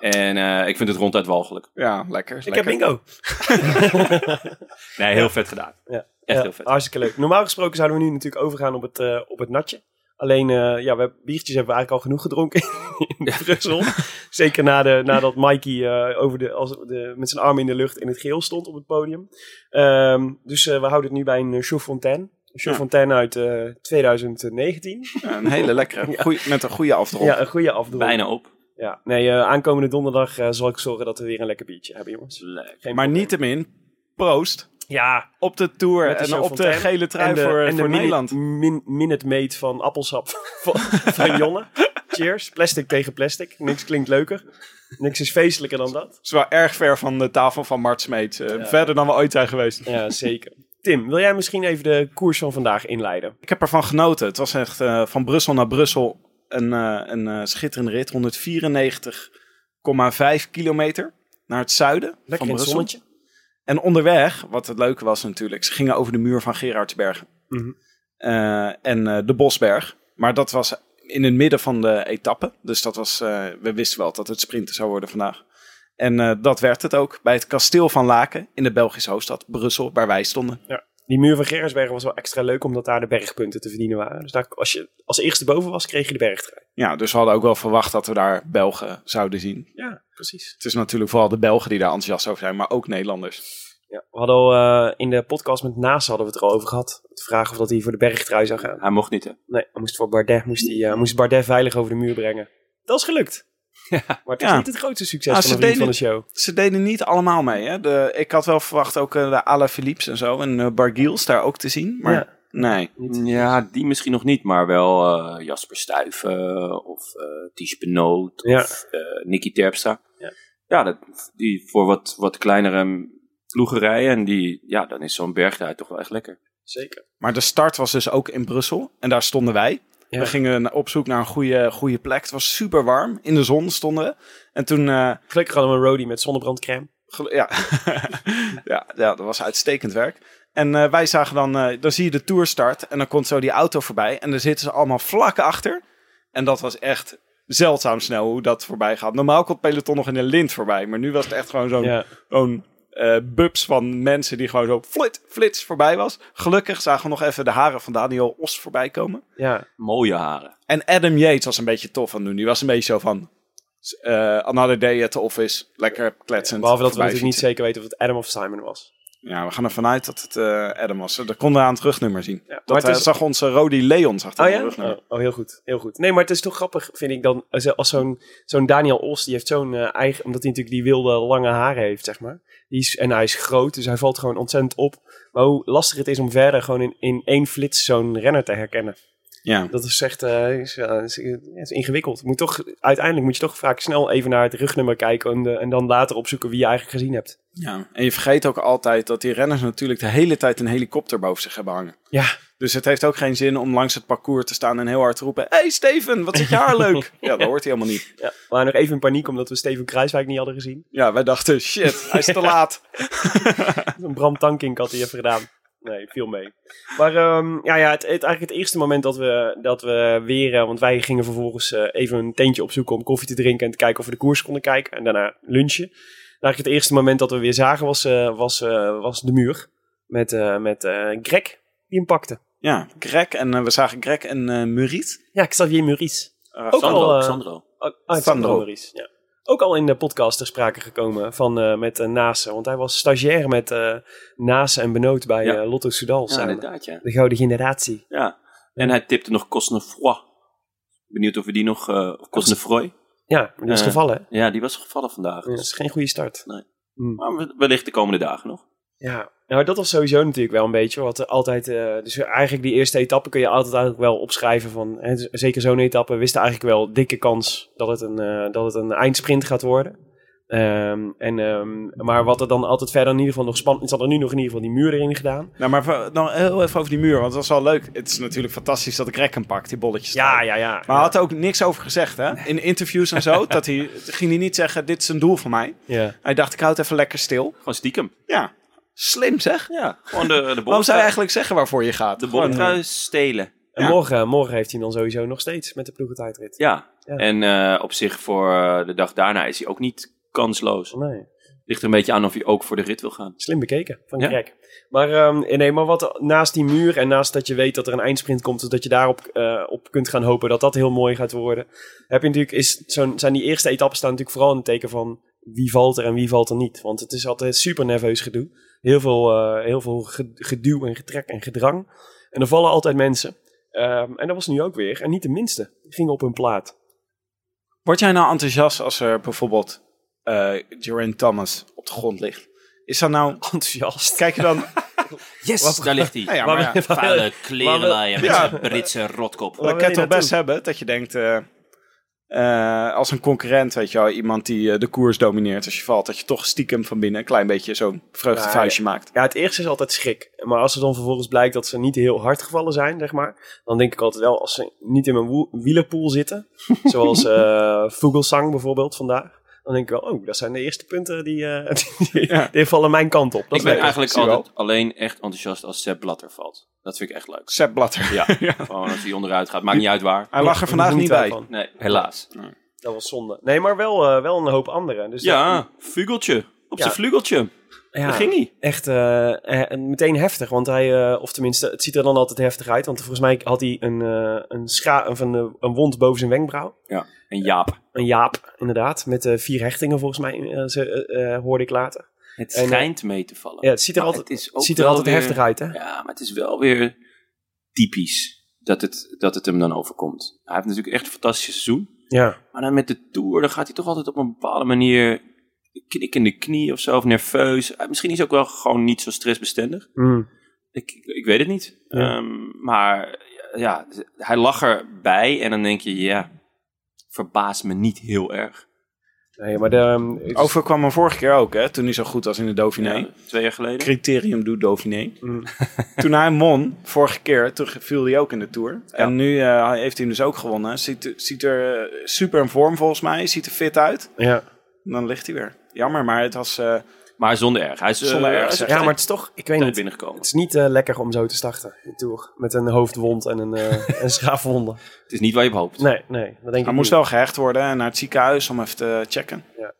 [SPEAKER 1] En eh, ik vind het ronduit walgelijk.
[SPEAKER 6] Ja, lekker. is
[SPEAKER 2] Ik heb
[SPEAKER 6] lekker.
[SPEAKER 2] bingo.
[SPEAKER 1] Nee, heel vet gedaan.
[SPEAKER 2] Ja.
[SPEAKER 1] Echt
[SPEAKER 2] Ja,
[SPEAKER 1] heel vet.
[SPEAKER 2] Hartstikke leuk. Normaal gesproken zouden we nu natuurlijk overgaan op het, eh, op het natje. Alleen, eh, ja, we hebben, biertjes hebben we eigenlijk al genoeg gedronken in Brussel. Zeker na de, nadat Mikey eh, over de, als de, met zijn armen in de lucht in het geel stond op het podium. Ehm, dus eh, we houden het nu bij een Chaux Fontaine. Een Chaux
[SPEAKER 6] Ja.
[SPEAKER 2] Fontaine uit eh, 2019.
[SPEAKER 6] Ja, een hele lekkere. Goeie- met een goede afdrop.
[SPEAKER 2] Ja, een goede afdronk.
[SPEAKER 1] Bijna op.
[SPEAKER 2] Ja. Nee, eh, aankomende donderdag eh, zal ik zorgen dat we weer een lekker biertje hebben, jongens. Geen
[SPEAKER 6] maar
[SPEAKER 2] probleem.
[SPEAKER 6] niettemin, proost
[SPEAKER 2] Ja,
[SPEAKER 6] op de Tour
[SPEAKER 2] Met de
[SPEAKER 6] en
[SPEAKER 2] Show
[SPEAKER 6] op
[SPEAKER 2] van
[SPEAKER 6] de
[SPEAKER 2] Tijn.
[SPEAKER 6] gele trui
[SPEAKER 2] en de,
[SPEAKER 6] voor,
[SPEAKER 2] en de
[SPEAKER 6] voor
[SPEAKER 2] mini-
[SPEAKER 6] Nederland.
[SPEAKER 2] Min, minute meet van appelsap van, van Jonne. Cheers. Plastic tegen plastic. Niks klinkt leuker. Niks is feestelijker dan dat.
[SPEAKER 6] is wel erg ver van de tafel van Mart Smeets. eh, Verder dan we ooit zijn geweest.
[SPEAKER 2] Ja, zeker. Tim, wil jij misschien even de koers van vandaag inleiden?
[SPEAKER 6] Ik heb ervan genoten. Het was echt eh, van Brussel naar Brussel een, eh, een eh, schitterende rit. 194,5 kilometer naar het zuiden
[SPEAKER 2] Lekker
[SPEAKER 6] van
[SPEAKER 2] in het
[SPEAKER 6] Brussel.
[SPEAKER 2] zonnetje.
[SPEAKER 6] En onderweg, wat het leuke was natuurlijk, ze gingen over de muur van Gerardsbergen.
[SPEAKER 2] Mhm.
[SPEAKER 6] Eh, en eh, de Bosberg. Maar dat was in het midden van de etappe. Dus dat was, eh, we wisten wel dat het sprinten zou worden vandaag. En eh, dat werd het ook bij het kasteel van Laken in de Belgische hoofdstad Brussel, waar wij stonden.
[SPEAKER 2] Die muur van Gerritsbergen was wel extra leuk, omdat daar de bergpunten te verdienen waren. Dus daar, als je als eerste boven was, kreeg je de bergtrui.
[SPEAKER 6] Ja, dus we hadden ook wel verwacht dat we daar Belgen zouden zien.
[SPEAKER 2] Ja, precies.
[SPEAKER 6] Het is natuurlijk vooral de Belgen die daar enthousiast over zijn, maar ook Nederlanders.
[SPEAKER 2] Ja, we hadden al eh, in de podcast met Naas hadden we het er al over gehad. De vraag of dat hij voor de bergtrui zou gaan.
[SPEAKER 1] Hij mocht niet, hè?
[SPEAKER 2] Nee, hij moest voor Bardet, moest, hij, eh, moest Bardet veilig over de muur brengen. Dat is gelukt. Maar het is
[SPEAKER 6] Ja.
[SPEAKER 2] niet het grootste succes
[SPEAKER 6] Ah,
[SPEAKER 2] van
[SPEAKER 6] ze
[SPEAKER 2] de vriend van de
[SPEAKER 6] deden-
[SPEAKER 2] show.
[SPEAKER 6] Ze deden niet allemaal mee. Hè? De, ik had wel verwacht ook eh, de Ala Philips en zo en eh Bargiels daar ook te zien. Maar
[SPEAKER 2] Ja.
[SPEAKER 6] nee,
[SPEAKER 1] Ja, die misschien nog niet, maar wel eh, Jasper Stuyven of eh Ties Benoot
[SPEAKER 2] Ja.
[SPEAKER 1] of eh Nicky Terpstra.
[SPEAKER 2] Ja.
[SPEAKER 1] Ja, dat, die voor wat, wat kleinere mm, ploegerijen en die, ja, dan is zo'n berg daar toch wel echt lekker.
[SPEAKER 2] Zeker.
[SPEAKER 6] Maar de start was dus ook in Brussel. En daar stonden wij.
[SPEAKER 2] Ja.
[SPEAKER 6] We gingen na- op zoek naar een goede, goede plek. Het was super warm. In de zon stonden we. En toen... eh,
[SPEAKER 2] Gelukkig hadden we een roadie met zonnebrandcrème.
[SPEAKER 6] gelu- ja. ja, ja, dat was uitstekend werk. En eh, wij zagen dan... eh, dan zie je de tour start. En dan komt zo die auto voorbij. En daar zitten ze allemaal vlak achter. En dat was echt zeldzaam snel hoe dat voorbij gaat. Normaal komt het peloton nog in een lint voorbij. Maar nu was het echt gewoon zo'n
[SPEAKER 2] Ja.
[SPEAKER 6] gewoon eh, bubs van mensen die gewoon zo flit, flits voorbij was. Gelukkig zagen we nog even de haren van Daniel Os voorbij komen.
[SPEAKER 2] Ja.
[SPEAKER 1] Mooie haren.
[SPEAKER 6] En Adam Yates was een beetje tof aan het doen. Die was een beetje zo van... eh, another day at the office. Lekker kletsend.
[SPEAKER 2] Behalve dat we natuurlijk
[SPEAKER 6] voorbij
[SPEAKER 2] niet
[SPEAKER 6] fietsen.
[SPEAKER 2] zeker weten of het Adam of Simon was.
[SPEAKER 6] Ja, we gaan ervan uit dat het eh, Adam was. Dat konden we aan het rugnummer zien.
[SPEAKER 2] Ja, maar
[SPEAKER 6] dat
[SPEAKER 2] het
[SPEAKER 6] eh,
[SPEAKER 2] is-
[SPEAKER 6] zag onze Rody Leon zag dat
[SPEAKER 2] Oh
[SPEAKER 6] aan
[SPEAKER 2] ja?
[SPEAKER 6] het rugnummer.
[SPEAKER 2] Oh, oh, heel goed. Heel goed. Nee, maar het is toch grappig, vind ik dan. eh, als- Als zo'n zo'n Daniel Os, die heeft zo'n eh, eigen... Omdat hij natuurlijk die wilde lange haren heeft, zeg maar. Die is, en hij is groot, dus hij valt gewoon ontzettend op. Maar hoe lastig het is om verder gewoon in, in één flits zo'n renner te herkennen.
[SPEAKER 6] Ja.
[SPEAKER 2] Dat is echt eh, is, ja, is, ja, is ingewikkeld. Moet toch, uiteindelijk moet je toch vaak snel even naar het rugnummer kijken en, eh, en dan later opzoeken wie je eigenlijk gezien hebt.
[SPEAKER 6] ja. En je vergeet ook altijd dat die renners natuurlijk de hele tijd een helikopter boven zich hebben hangen.
[SPEAKER 2] Ja,
[SPEAKER 6] Dus het heeft ook geen zin om langs het parcours te staan en heel hard te roepen: Hey Steven, wat zit je haar leuk? Ja, dat hoort hij helemaal niet.
[SPEAKER 2] ja. We waren nog even in paniek omdat we Steven Kruiswijk niet hadden gezien.
[SPEAKER 6] Ja, wij dachten: shit, hij is te laat.
[SPEAKER 2] Een Bram Tankink had hij even gedaan. Nee, viel mee. Maar ehm, ja, ja het, het, eigenlijk het eerste moment dat we, dat we weer... eh, want wij gingen vervolgens eh, even een tentje opzoeken om koffie te drinken... en te kijken of we de koers konden kijken. En daarna lunchen. En eigenlijk het eerste moment dat we weer zagen was, eh, was, eh, was de muur. Met, eh, met eh, Greg, die hem pakte.
[SPEAKER 6] Ja, Greg en eh, we zagen Greg en eh Muriet.
[SPEAKER 2] Ja, Xavier Maurice.
[SPEAKER 6] Eh,
[SPEAKER 2] Ook
[SPEAKER 1] Sandro,
[SPEAKER 2] al, eh,
[SPEAKER 1] Sandro.
[SPEAKER 2] Ah,
[SPEAKER 6] Sandro.
[SPEAKER 2] Alexander Maurice, ja. Ook al in de podcast ter sprake gekomen van, eh, met eh Nase. Want hij was stagiair met eh Nase en Benoot bij
[SPEAKER 1] Ja.
[SPEAKER 2] eh, Lotto Soudal
[SPEAKER 1] Ja,
[SPEAKER 2] samen.
[SPEAKER 1] inderdaad, ja.
[SPEAKER 2] De gouden generatie.
[SPEAKER 1] ja. En hij tipte nog Cosnefroy. Benieuwd of we die nog... eh of Cosnefroy.
[SPEAKER 2] Ja, maar die is
[SPEAKER 1] Eh,
[SPEAKER 2] gevallen. hè?
[SPEAKER 1] Ja, die was gevallen vandaag.
[SPEAKER 2] Dat is
[SPEAKER 1] Dus,
[SPEAKER 2] geen goede start.
[SPEAKER 1] maar wellicht de komende dagen nog.
[SPEAKER 2] Ja, nou dat was sowieso natuurlijk wel een beetje wat er altijd... eh, dus eigenlijk die eerste etappe kun je altijd eigenlijk wel opschrijven van... Hè, z- zeker zo'n etappe wist eigenlijk wel dikke kans dat het een, eh, dat het een eindsprint gaat worden. Ehm, en, ehm, maar wat er dan altijd verder in ieder geval nog spannend... is, hadden nu nog in ieder geval die muur erin gedaan.
[SPEAKER 6] Nou, maar we- nog heel even over die muur, want dat was wel leuk. Het is natuurlijk fantastisch dat Greg hem pakt, die bolletjes. daar.
[SPEAKER 2] Ja, ja, ja.
[SPEAKER 6] Maar hij had er ook niks over gezegd, hè? In interviews en zo. dat hij, ging hij niet zeggen: Dit is een doel van mij.
[SPEAKER 2] ja.
[SPEAKER 6] Hij dacht: Ik houd even lekker stil.
[SPEAKER 1] Gewoon stiekem.
[SPEAKER 6] Ja, slim zeg.
[SPEAKER 1] Ja, gewoon de, de
[SPEAKER 6] Waarom zou
[SPEAKER 1] bolletrui-
[SPEAKER 6] je eigenlijk zeggen waarvoor je gaat?
[SPEAKER 1] De
[SPEAKER 6] Gewoon, eh,
[SPEAKER 1] bolletrui stelen.
[SPEAKER 2] En
[SPEAKER 6] Ja.
[SPEAKER 2] morgen, morgen heeft hij hem dan sowieso nog steeds met de ploegentijdrit.
[SPEAKER 1] Ja, En eh, op zich voor eh, de dag daarna is hij ook niet kansloos.
[SPEAKER 2] Nee.
[SPEAKER 1] Ligt er een beetje aan of hij ook voor de rit wil gaan.
[SPEAKER 2] Slim bekeken van
[SPEAKER 1] Ja.
[SPEAKER 2] Greg. Maar, ehm, nee, maar wat naast die muur en naast dat je weet dat er een eindsprint komt, dus dat je daarop eh, op kunt gaan hopen dat dat heel mooi gaat worden, heb je natuurlijk, is zo'n, zijn die eerste etappes staan natuurlijk vooral in het teken van wie valt er en wie valt er niet. Want het is altijd super nerveus gedoe. Heel veel, eh, heel veel ge- geduw en getrek en gedrang. En er vallen altijd mensen. Ehm, en dat was nu ook weer. En niet de minste. Die gingen op hun plaat.
[SPEAKER 6] Word jij nou enthousiast als er bijvoorbeeld eh Geraint Thomas op de grond ligt? Is dat nou...
[SPEAKER 2] Enthousiast.
[SPEAKER 6] Kijk je dan...
[SPEAKER 1] Yes, daar ligt hij.
[SPEAKER 6] Ja, ja, maar ja.
[SPEAKER 1] Vuile klerenlaaien met
[SPEAKER 6] Ja.
[SPEAKER 1] zijn Britse rotkop.
[SPEAKER 6] Dat
[SPEAKER 2] wil
[SPEAKER 6] kan
[SPEAKER 2] je
[SPEAKER 6] toch best
[SPEAKER 2] naartoe?
[SPEAKER 6] hebben dat je denkt... eh, eh, als een concurrent, weet je wel, iemand die eh, de koers domineert als je valt, dat je toch stiekem van binnen een klein beetje zo'n vreugdevuistje maakt.
[SPEAKER 2] Ja, het eerste is altijd schrik. Maar als het dan vervolgens blijkt dat ze niet heel hard gevallen zijn, zeg maar. Dan denk ik altijd wel, als ze niet in mijn woe- wielerpool zitten. zoals eh Vogelsang bijvoorbeeld vandaag. Dan denk ik wel, oh, dat zijn de eerste punten die, eh, die, die vallen mijn kant op. Dat
[SPEAKER 1] Ik ben
[SPEAKER 2] leuk.
[SPEAKER 1] eigenlijk
[SPEAKER 6] zie je wel.
[SPEAKER 1] altijd alleen echt enthousiast als Sepp Blatter valt. Dat vind ik echt leuk.
[SPEAKER 6] Sepp Blatter.
[SPEAKER 1] Ja, gewoon als hij onderuit gaat. Maakt niet uit waar.
[SPEAKER 6] Hij lag er vandaag
[SPEAKER 2] Daar
[SPEAKER 6] niet
[SPEAKER 2] genieten wij
[SPEAKER 6] bij.
[SPEAKER 2] van.
[SPEAKER 1] Nee, helaas.
[SPEAKER 2] Dat was zonde. Nee, maar wel, eh, wel een hoop anderen. Dus
[SPEAKER 1] Ja, vugeltje. Op
[SPEAKER 2] Ja.
[SPEAKER 1] zijn vlugeltje.
[SPEAKER 2] dat,
[SPEAKER 1] Daar ging hij.
[SPEAKER 2] Echt eh, eh, meteen heftig, want hij, eh, of tenminste, het ziet er dan altijd heftig uit. Want volgens mij had hij een, eh, een, scha of een, eh, een wond boven zijn wenkbrauw.
[SPEAKER 1] Ja. En Jaap.
[SPEAKER 2] Een jaap, inderdaad. Met eh, vier hechtingen volgens mij, eh, ze, eh, eh, hoorde ik later.
[SPEAKER 1] Het
[SPEAKER 2] En, eh,
[SPEAKER 1] schijnt mee te vallen.
[SPEAKER 2] Ja, het ziet er
[SPEAKER 1] Maar
[SPEAKER 2] altijd,
[SPEAKER 1] het is
[SPEAKER 2] het
[SPEAKER 1] ook
[SPEAKER 2] ziet er
[SPEAKER 1] wel
[SPEAKER 2] altijd
[SPEAKER 1] weer-
[SPEAKER 2] heftig uit, hè?
[SPEAKER 1] Ja, maar het is wel weer typisch dat het, dat het hem dan overkomt. Hij heeft natuurlijk echt een fantastisch seizoen.
[SPEAKER 2] Ja.
[SPEAKER 1] Maar dan met de Tour, dan gaat hij toch altijd op een bepaalde manier knik in de knie of zo, of nerveus. Eh, Misschien is hij ook wel gewoon niet zo stressbestendig.
[SPEAKER 2] Mm.
[SPEAKER 1] Ik, ik, ik weet het niet.
[SPEAKER 2] Ja.
[SPEAKER 1] Ehm, maar ja, hij lag erbij en dan denk je, ja, verbaast me niet heel erg.
[SPEAKER 2] Nee, maar de, ehm, het is-
[SPEAKER 6] Overkwam hem vorige keer ook, hè, toen hij zo goed was in de Dauphiné.
[SPEAKER 1] Ja, twee jaar geleden.
[SPEAKER 6] Criterium doet Dauphiné.
[SPEAKER 2] Mm.
[SPEAKER 6] toen hij won, vorige keer, toen viel hij ook in de Tour. En nu eh, heeft hij hem dus ook gewonnen. Ziet, ziet er eh, super in vorm volgens mij. Ziet er fit uit.
[SPEAKER 2] ja.
[SPEAKER 6] En dan ligt hij weer. Jammer, maar het was... eh,
[SPEAKER 1] Maar zonder erg. Hij is eh,
[SPEAKER 6] Zonder erg,
[SPEAKER 1] hij is
[SPEAKER 6] zeg.
[SPEAKER 1] echt
[SPEAKER 2] ja, maar het is toch, ik weet
[SPEAKER 1] tijd
[SPEAKER 2] niet,
[SPEAKER 1] binnengekomen.
[SPEAKER 2] het is niet eh, lekker om zo te starten, de Tour. Met een hoofdwond en een, eh een schaafwonde.
[SPEAKER 1] Het is niet waar je op hoopt.
[SPEAKER 2] Nee, nee, dat denk
[SPEAKER 6] hij
[SPEAKER 2] ik
[SPEAKER 6] moest
[SPEAKER 2] niet.
[SPEAKER 6] wel gehecht worden en naar het ziekenhuis om even te checken.
[SPEAKER 2] Ja.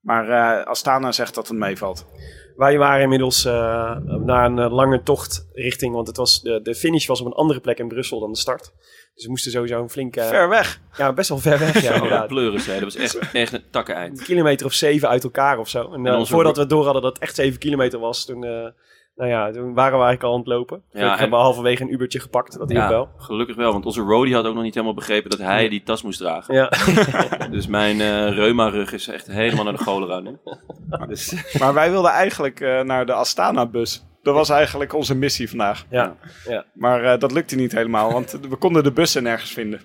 [SPEAKER 6] Maar eh, Astana zegt dat het meevalt.
[SPEAKER 2] Wij waren inmiddels eh, na een eh, lange tocht richting, want het was, de, de finish was op een andere plek in Brussel dan de start. Dus we moesten sowieso een flinke...
[SPEAKER 6] Ver weg.
[SPEAKER 2] Ja, best wel ver weg, ja,
[SPEAKER 1] Oh, dat
[SPEAKER 2] inderdaad.
[SPEAKER 1] pleuris, hè. Dat was echt, echt een takken eind.
[SPEAKER 2] Een kilometer of zeven uit elkaar of zo. En, eh,
[SPEAKER 1] En onze-
[SPEAKER 2] voordat we door hadden dat het echt zeven kilometer was, toen, eh, nou ja, toen waren we eigenlijk al aan het lopen.
[SPEAKER 1] Ja,
[SPEAKER 2] Ja,
[SPEAKER 1] en-
[SPEAKER 2] hebben we halverwege een Ubertje gepakt, dat hielp wel.
[SPEAKER 1] gelukkig wel, want onze roadie had ook nog niet helemaal begrepen dat hij die tas moest dragen.
[SPEAKER 2] Ja.
[SPEAKER 1] Dus mijn eh reuma-rug is echt helemaal naar de cholera nu.
[SPEAKER 6] Dus, maar wij wilden eigenlijk eh, naar de Astana-bus. Dat was eigenlijk onze missie vandaag.
[SPEAKER 2] ja.
[SPEAKER 6] Maar eh, dat lukte niet helemaal, want we konden de bussen nergens vinden.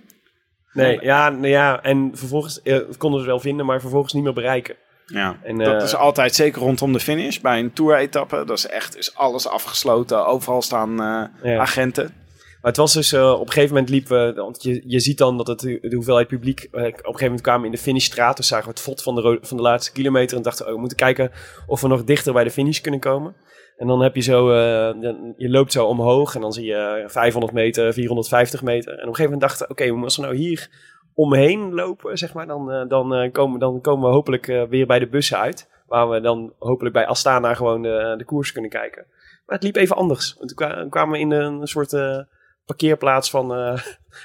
[SPEAKER 2] Nee, ja, nou ja, en vervolgens eh, konden ze wel vinden, maar vervolgens niet meer bereiken.
[SPEAKER 6] Ja,
[SPEAKER 2] En,
[SPEAKER 6] dat
[SPEAKER 2] eh,
[SPEAKER 6] is altijd zeker rondom de finish. Bij een tour-etappe, dat is echt is alles afgesloten. Overal staan eh,
[SPEAKER 2] Ja.
[SPEAKER 6] agenten.
[SPEAKER 2] Maar het was dus, eh, op een gegeven moment liepen we, want je, je ziet dan dat het, de hoeveelheid publiek, eh, op een gegeven moment kwamen we in de finishstraat, dus zagen we het fot van de, ro- van de laatste kilometer en dachten, oh, we moeten kijken of we nog dichter bij de finish kunnen komen. En dan heb je zo, eh, dan- je loopt zo omhoog en dan zie je eh, 500 meter, 450 meter. En op een gegeven moment dachten, we, oké, als we nou hier omheen lopen, zeg maar, dan, eh, dan, eh, komen, dan komen we hopelijk eh, weer bij de bussen uit. Waar we dan hopelijk bij Astana gewoon de, de koers kunnen kijken. Maar het liep even anders. Want Toen kwa- kwamen we in een soort... eh, parkeerplaats van, eh,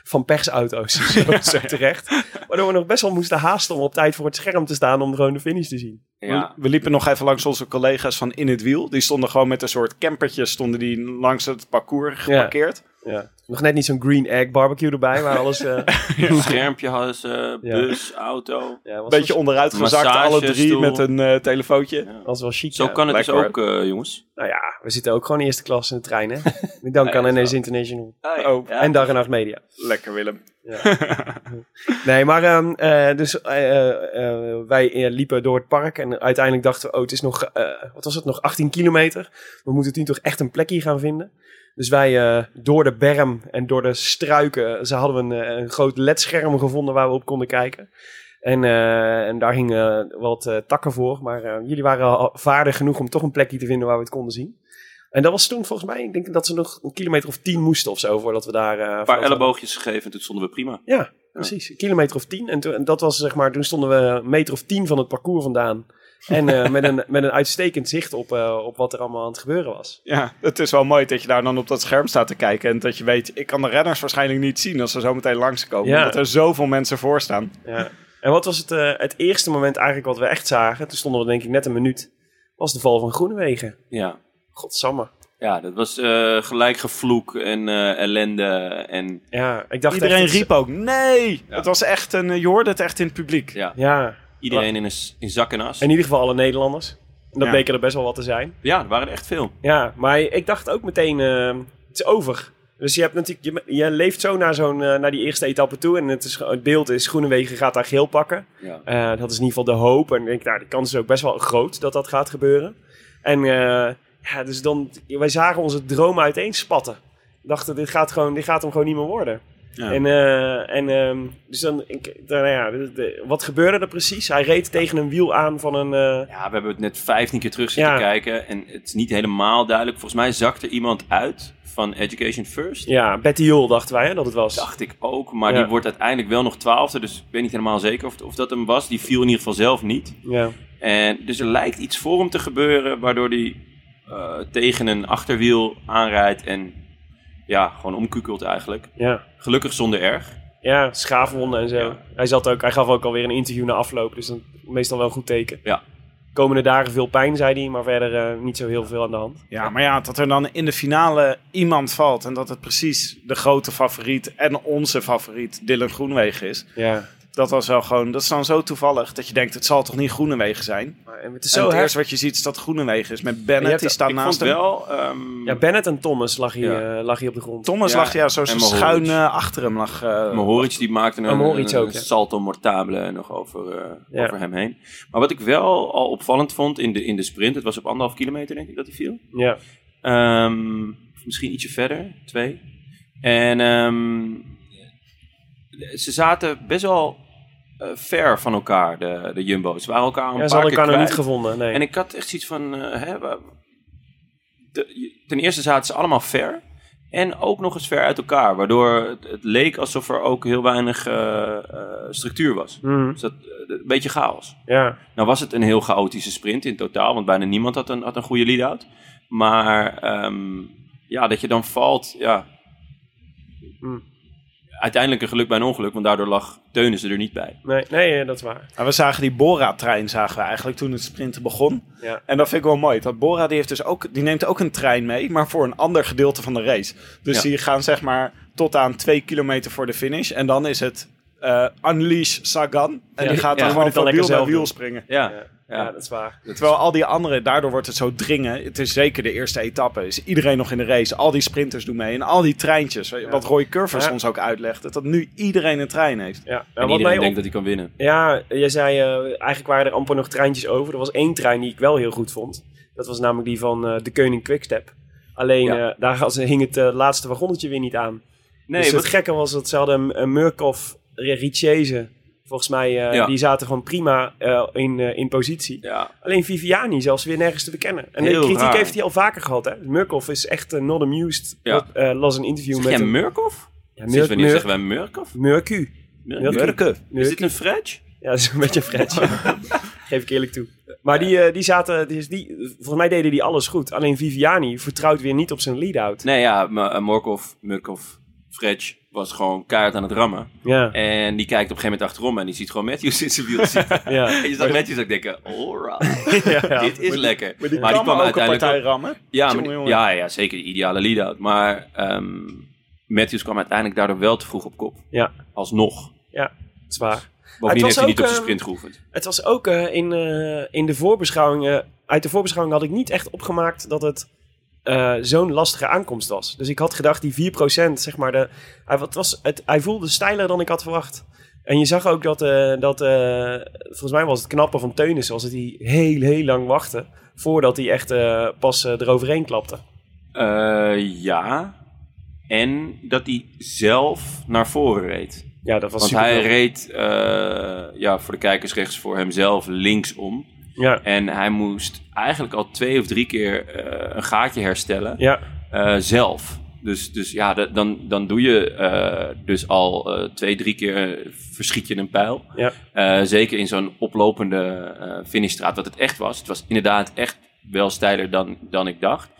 [SPEAKER 2] van persauto's zo, zo terecht. Waardoor we nog best wel moesten haasten om op tijd voor het scherm te staan om gewoon de finish te zien.
[SPEAKER 1] Ja,
[SPEAKER 6] We, we liepen nog even langs onze collega's van In het Wiel. Die stonden gewoon met een soort campertje stonden die langs het parcours geparkeerd.
[SPEAKER 2] Ja. Nog net niet zo'n green egg barbecue erbij, maar alles... eh
[SPEAKER 1] schermpje hadden ze, bus, auto.
[SPEAKER 2] ja, was
[SPEAKER 6] Een beetje
[SPEAKER 2] wel,
[SPEAKER 6] onderuit gezakt,
[SPEAKER 1] Massage,
[SPEAKER 6] alle drie
[SPEAKER 1] stoel.
[SPEAKER 6] met een eh, telefoontje.
[SPEAKER 2] was wel chic.
[SPEAKER 1] Zo
[SPEAKER 2] ja.
[SPEAKER 1] kan het dus
[SPEAKER 6] lekker,
[SPEAKER 1] ook, eh, jongens.
[SPEAKER 2] Nou ja, we zitten ook gewoon eerste klas in de trein, hè? Met dank aan NS International.
[SPEAKER 6] Oh,
[SPEAKER 2] En Dag en Nacht Media.
[SPEAKER 6] lekker Willem.
[SPEAKER 2] Nee, maar ehm, eh, dus, eh, eh, eh, wij eh, liepen door het park en uiteindelijk dachten we, oh, het is nog, eh, wat was het, nog 18 kilometer. We moeten nu toch echt een plekje gaan vinden. Dus wij eh, door de berm en door de struiken, ze hadden we een, eh, een groot ledscherm gevonden waar we op konden kijken. En, eh, en daar hingen wat eh, takken voor, maar eh, jullie waren al vaardig genoeg om toch een plekje te vinden waar we het konden zien. En dat was toen volgens mij, ik denk dat ze nog een kilometer of tien moesten of zo, voordat we daar... eh,
[SPEAKER 1] Een
[SPEAKER 2] voordat
[SPEAKER 1] paar
[SPEAKER 2] we-
[SPEAKER 1] elleboogjes gegeven en toen stonden we prima.
[SPEAKER 2] Ja, precies. Een kilometer of tien. En, toen, en dat was zeg maar, toen stonden we een meter of tien van het parcours vandaan. En eh, met, een, met een uitstekend zicht op, eh, op wat er allemaal aan het gebeuren was.
[SPEAKER 6] Ja, het is wel mooi dat je daar dan op dat scherm staat te kijken. En dat je weet, ik kan de renners waarschijnlijk niet zien als ze zo meteen langskomen.
[SPEAKER 2] Ja.
[SPEAKER 6] Omdat er zoveel mensen voor staan.
[SPEAKER 2] Ja. En wat was het, eh, het eerste moment eigenlijk wat we echt zagen? Toen stonden we denk ik net een minuut. Was de val van Groenewegen.
[SPEAKER 1] Ja,
[SPEAKER 2] Godsamme.
[SPEAKER 1] ja dat was eh, gelijk gevloek en eh, ellende. En
[SPEAKER 2] Ja, ik dacht
[SPEAKER 6] Iedereen
[SPEAKER 2] echt dat ze-
[SPEAKER 6] riep ook, nee!
[SPEAKER 1] Ja.
[SPEAKER 6] Het was echt een, eh, je hoorde het echt in het publiek.
[SPEAKER 1] ja,
[SPEAKER 2] Ja,
[SPEAKER 1] iedereen in, een, s- in zak en as.
[SPEAKER 2] in ieder geval alle Nederlanders. En dat
[SPEAKER 6] Ja.
[SPEAKER 2] bleken er best wel wat te zijn.
[SPEAKER 1] Ja, er waren er echt veel.
[SPEAKER 2] Ja, maar ik dacht ook meteen, eh, het is over. Dus je, hebt natuurlijk, je, je leeft zo naar, zo'n, eh, naar die eerste etappe toe. En het, is, het beeld is Groenewegen gaat daar geel pakken.
[SPEAKER 1] Ja.
[SPEAKER 2] Eh, dat is in ieder geval de hoop. En ik denk, nou, de kans is ook best wel groot dat dat gaat gebeuren. En eh, ja, dus dan, wij zagen onze droom uiteenspatten. We dachten, dit gaat, gewoon, dit gaat hem gewoon niet meer worden.
[SPEAKER 6] Ja.
[SPEAKER 2] En, eh, en ehm, dus dan, ik, dan, nou ja, de- de- wat gebeurde er precies? Hij reed tegen een wiel aan van een... eh,
[SPEAKER 1] ja, we hebben het net 15 keer terug zitten
[SPEAKER 2] Ja.
[SPEAKER 1] kijken. En het is niet helemaal duidelijk. Volgens mij zakte iemand uit van Education First.
[SPEAKER 2] ja, Betty Jol dachten wij hè, dat het was.
[SPEAKER 1] Dacht ik ook, maar
[SPEAKER 2] Ja.
[SPEAKER 1] die wordt uiteindelijk wel nog twaalfde. Dus ik weet niet helemaal zeker of, of dat hem was. Die viel in ieder geval zelf niet.
[SPEAKER 2] Ja.
[SPEAKER 1] En, dus er lijkt iets voor hem te gebeuren, waardoor hij eh, tegen een achterwiel aanrijdt en ja, gewoon omkukelt eigenlijk.
[SPEAKER 2] ja.
[SPEAKER 1] Gelukkig zonder erg.
[SPEAKER 2] Ja, schaafwonden en zo.
[SPEAKER 1] Ja.
[SPEAKER 2] Hij, zat ook, hij gaf ook alweer een interview na afloop, dus dan meestal wel een goed teken.
[SPEAKER 1] Ja.
[SPEAKER 2] Komende dagen veel pijn, zei hij, maar verder eh, niet zo heel veel aan de hand.
[SPEAKER 6] Ja, maar ja, dat er dan in de finale iemand valt en dat het precies de grote favoriet en onze favoriet Dylan Groenwegen is.
[SPEAKER 2] Ja.
[SPEAKER 6] Dat was wel gewoon, dat is dan zo toevallig dat je denkt, het zal toch niet Groenewegen zijn?
[SPEAKER 2] Maar, en het is
[SPEAKER 6] Zo
[SPEAKER 2] zo
[SPEAKER 6] en het
[SPEAKER 2] hard.
[SPEAKER 6] eerste wat je ziet is dat Groenewegen is met
[SPEAKER 2] Je
[SPEAKER 6] Bennett,
[SPEAKER 2] hebt-
[SPEAKER 6] die staat
[SPEAKER 1] ik
[SPEAKER 6] naast
[SPEAKER 1] vond
[SPEAKER 6] hem.
[SPEAKER 1] wel... ehm,
[SPEAKER 2] Ja, Bennett en Thomas lag hier,
[SPEAKER 1] Ja.
[SPEAKER 2] eh, lag hier op de grond.
[SPEAKER 6] Thomas
[SPEAKER 1] Ja,
[SPEAKER 6] lag ja zo
[SPEAKER 1] en Mohoric.
[SPEAKER 6] schuin eh, achter hem lag. eh,
[SPEAKER 1] Mohoric die maakte
[SPEAKER 2] Ah,
[SPEAKER 1] een,
[SPEAKER 2] Mohoric
[SPEAKER 1] een-
[SPEAKER 2] ook,
[SPEAKER 1] een
[SPEAKER 2] ja.
[SPEAKER 1] salto mortabile nog over, eh,
[SPEAKER 2] Ja.
[SPEAKER 1] over hem heen. Maar wat ik wel al opvallend vond in de, in de sprint, het was op anderhalf kilometer denk ik dat hij viel.
[SPEAKER 2] Ja.
[SPEAKER 1] Ehm, of misschien ietsje verder, twee. En ehm, ze zaten best wel eh, ver van elkaar, de, de Jumbo's. Ze waren elkaar al een
[SPEAKER 2] ja, ze
[SPEAKER 1] paar
[SPEAKER 2] hadden
[SPEAKER 1] keer
[SPEAKER 2] elkaar nog
[SPEAKER 1] kwijt.
[SPEAKER 2] niet gevonden. Nee.
[SPEAKER 1] En ik had echt zoiets van... eh, hè, waar- de- je- ten eerste zaten ze allemaal ver. En ook nog eens ver uit elkaar. Waardoor het, het leek alsof er ook heel weinig eh, eh, structuur was.
[SPEAKER 2] Mhm.
[SPEAKER 1] Dus dat, eh, een beetje chaos.
[SPEAKER 2] Ja.
[SPEAKER 1] Nou was het een heel chaotische sprint in totaal, want bijna niemand had een, had een goede lead-out. Maar ehm, ja, dat je dan valt, ja.
[SPEAKER 2] Hmm.
[SPEAKER 1] Uiteindelijk een geluk bij een ongeluk, want daardoor lag Teunissen er niet bij.
[SPEAKER 2] Nee, nee, eh, dat is waar.
[SPEAKER 6] Maar we zagen die Bora-trein zagen we eigenlijk toen het sprinten begon.
[SPEAKER 2] Ja.
[SPEAKER 6] En dat vind ik wel mooi. Dat Bora die heeft dus ook, die neemt ook een trein mee, maar voor een ander gedeelte van de race.
[SPEAKER 1] Ja.
[SPEAKER 6] Dus die gaan zeg maar tot aan twee kilometer voor de finish. En dan is het eh Unleash Sagan. En
[SPEAKER 2] Ja.
[SPEAKER 6] die gaat
[SPEAKER 2] Ja,
[SPEAKER 6] dan
[SPEAKER 2] die
[SPEAKER 6] gewoon
[SPEAKER 2] moet dan
[SPEAKER 6] van wiel
[SPEAKER 2] lekker
[SPEAKER 6] naar
[SPEAKER 2] zelf
[SPEAKER 6] wiel
[SPEAKER 2] doen.
[SPEAKER 6] springen.
[SPEAKER 1] Ja,
[SPEAKER 2] Ja.
[SPEAKER 1] ja.
[SPEAKER 2] Ja, dat is waar.
[SPEAKER 6] Terwijl al die anderen, daardoor wordt het zo dringen. Het is zeker de eerste etappe. Is iedereen nog in de race. Al die sprinters doen mee. En al die treintjes. Wat Roy Curvers
[SPEAKER 2] Ja.
[SPEAKER 6] ons ook uitlegde. Dat nu iedereen een trein heeft.
[SPEAKER 2] Ja.
[SPEAKER 1] En
[SPEAKER 2] En wat mij
[SPEAKER 1] iedereen
[SPEAKER 2] op...
[SPEAKER 1] denkt dat hij kan winnen.
[SPEAKER 2] Ja, jij zei eh, eigenlijk waren er amper nog treintjes over. Er was één trein die ik wel heel goed vond. Dat was namelijk die van eh, de Keuning Quickstep. Alleen
[SPEAKER 1] Ja.
[SPEAKER 2] eh, daar had- hing het eh, laatste wagonnetje weer niet aan.
[SPEAKER 1] Nee,
[SPEAKER 2] dus
[SPEAKER 1] wat-
[SPEAKER 2] het gekke was dat ze hadden een- een Murkoff, eh, Richeze, volgens mij, eh,
[SPEAKER 1] Ja.
[SPEAKER 2] die zaten gewoon prima eh, in, eh, in positie.
[SPEAKER 1] ja,
[SPEAKER 2] Alleen Viviani zelfs weer nergens te bekennen. En
[SPEAKER 1] Heel
[SPEAKER 2] de kritiek
[SPEAKER 1] raar.
[SPEAKER 2] heeft hij al vaker gehad. Hè? Murkoff is echt eh, not amused.
[SPEAKER 1] Ja.
[SPEAKER 2] Dat, eh, las een interview
[SPEAKER 1] zeg
[SPEAKER 2] met
[SPEAKER 1] jij
[SPEAKER 2] hem.
[SPEAKER 1] Murkoff?
[SPEAKER 2] Ja,
[SPEAKER 1] Sinds
[SPEAKER 2] Mur-
[SPEAKER 1] wanneer
[SPEAKER 2] Mur-
[SPEAKER 1] zeggen wij Murkoff?
[SPEAKER 2] Murku.
[SPEAKER 1] Mur-
[SPEAKER 2] Murkoff.
[SPEAKER 1] Is dit een French?
[SPEAKER 2] Ja, dat is een beetje een fretje. Geef ik eerlijk toe. Maar die, eh, die zaten, die, die, volgens mij deden die alles goed. Alleen Viviani vertrouwt weer niet op zijn lead-out.
[SPEAKER 1] Nee, ja, maar, eh, Morkov, Murkoff, French was gewoon keihard aan het rammen.
[SPEAKER 2] Ja,
[SPEAKER 1] En die kijkt op een gegeven moment achterom en die ziet gewoon Matthews in zijn wiel zitten.
[SPEAKER 2] Oh ja.
[SPEAKER 1] En je zag Matthews ook denken, alright,
[SPEAKER 2] ja.
[SPEAKER 1] dit is lekker.
[SPEAKER 6] Maar die kan maar ook een partij rammen.
[SPEAKER 1] Ja, maar
[SPEAKER 6] Jongen,
[SPEAKER 1] die-
[SPEAKER 6] jongen.
[SPEAKER 1] ja, ja, zeker de ideale lead-out. Maar ehm, Matthews kwam uiteindelijk daardoor wel te vroeg op kop.
[SPEAKER 2] Ja.
[SPEAKER 1] Alsnog.
[SPEAKER 2] Dat is waar.
[SPEAKER 1] Bovendien heeft
[SPEAKER 2] was
[SPEAKER 1] hij
[SPEAKER 2] ook,
[SPEAKER 1] niet op zijn
[SPEAKER 6] eh,
[SPEAKER 2] ehm,
[SPEAKER 1] sprint geoefend.
[SPEAKER 2] Het was ook eh, in, eh, in de voorbeschouwing. eh, uit de voorbeschouwing had ik niet echt opgemaakt dat het eh, zo'n lastige aankomst was. Dus ik had gedacht, die 4%, zeg maar. De, hij, wat was, het, hij voelde steiler dan ik had verwacht. En je zag ook dat, eh, dat eh, volgens mij was het knappe van Teunis, was dat hij heel, heel lang wachtte. Voordat hij echt eh, pas eh, eroverheen klapte.
[SPEAKER 1] Eh, ja. En dat hij zelf naar voren reed.
[SPEAKER 2] Ja, dat was
[SPEAKER 1] Want
[SPEAKER 2] super.
[SPEAKER 1] hij reed, eh, ja, voor de kijkers rechts voor hemzelf, linksom.
[SPEAKER 2] Ja.
[SPEAKER 1] En hij moest eigenlijk al twee of drie keer eh, een gaatje herstellen
[SPEAKER 2] Ja.
[SPEAKER 1] eh, zelf. Dus, dus ja, da- dan, dan doe je eh, dus al eh, twee, drie keer eh, verschiet je een pijl.
[SPEAKER 2] Ja.
[SPEAKER 1] Eh, zeker in zo'n oplopende eh, finishstraat, wat het echt was. Het was inderdaad echt wel steiler dan, dan ik dacht.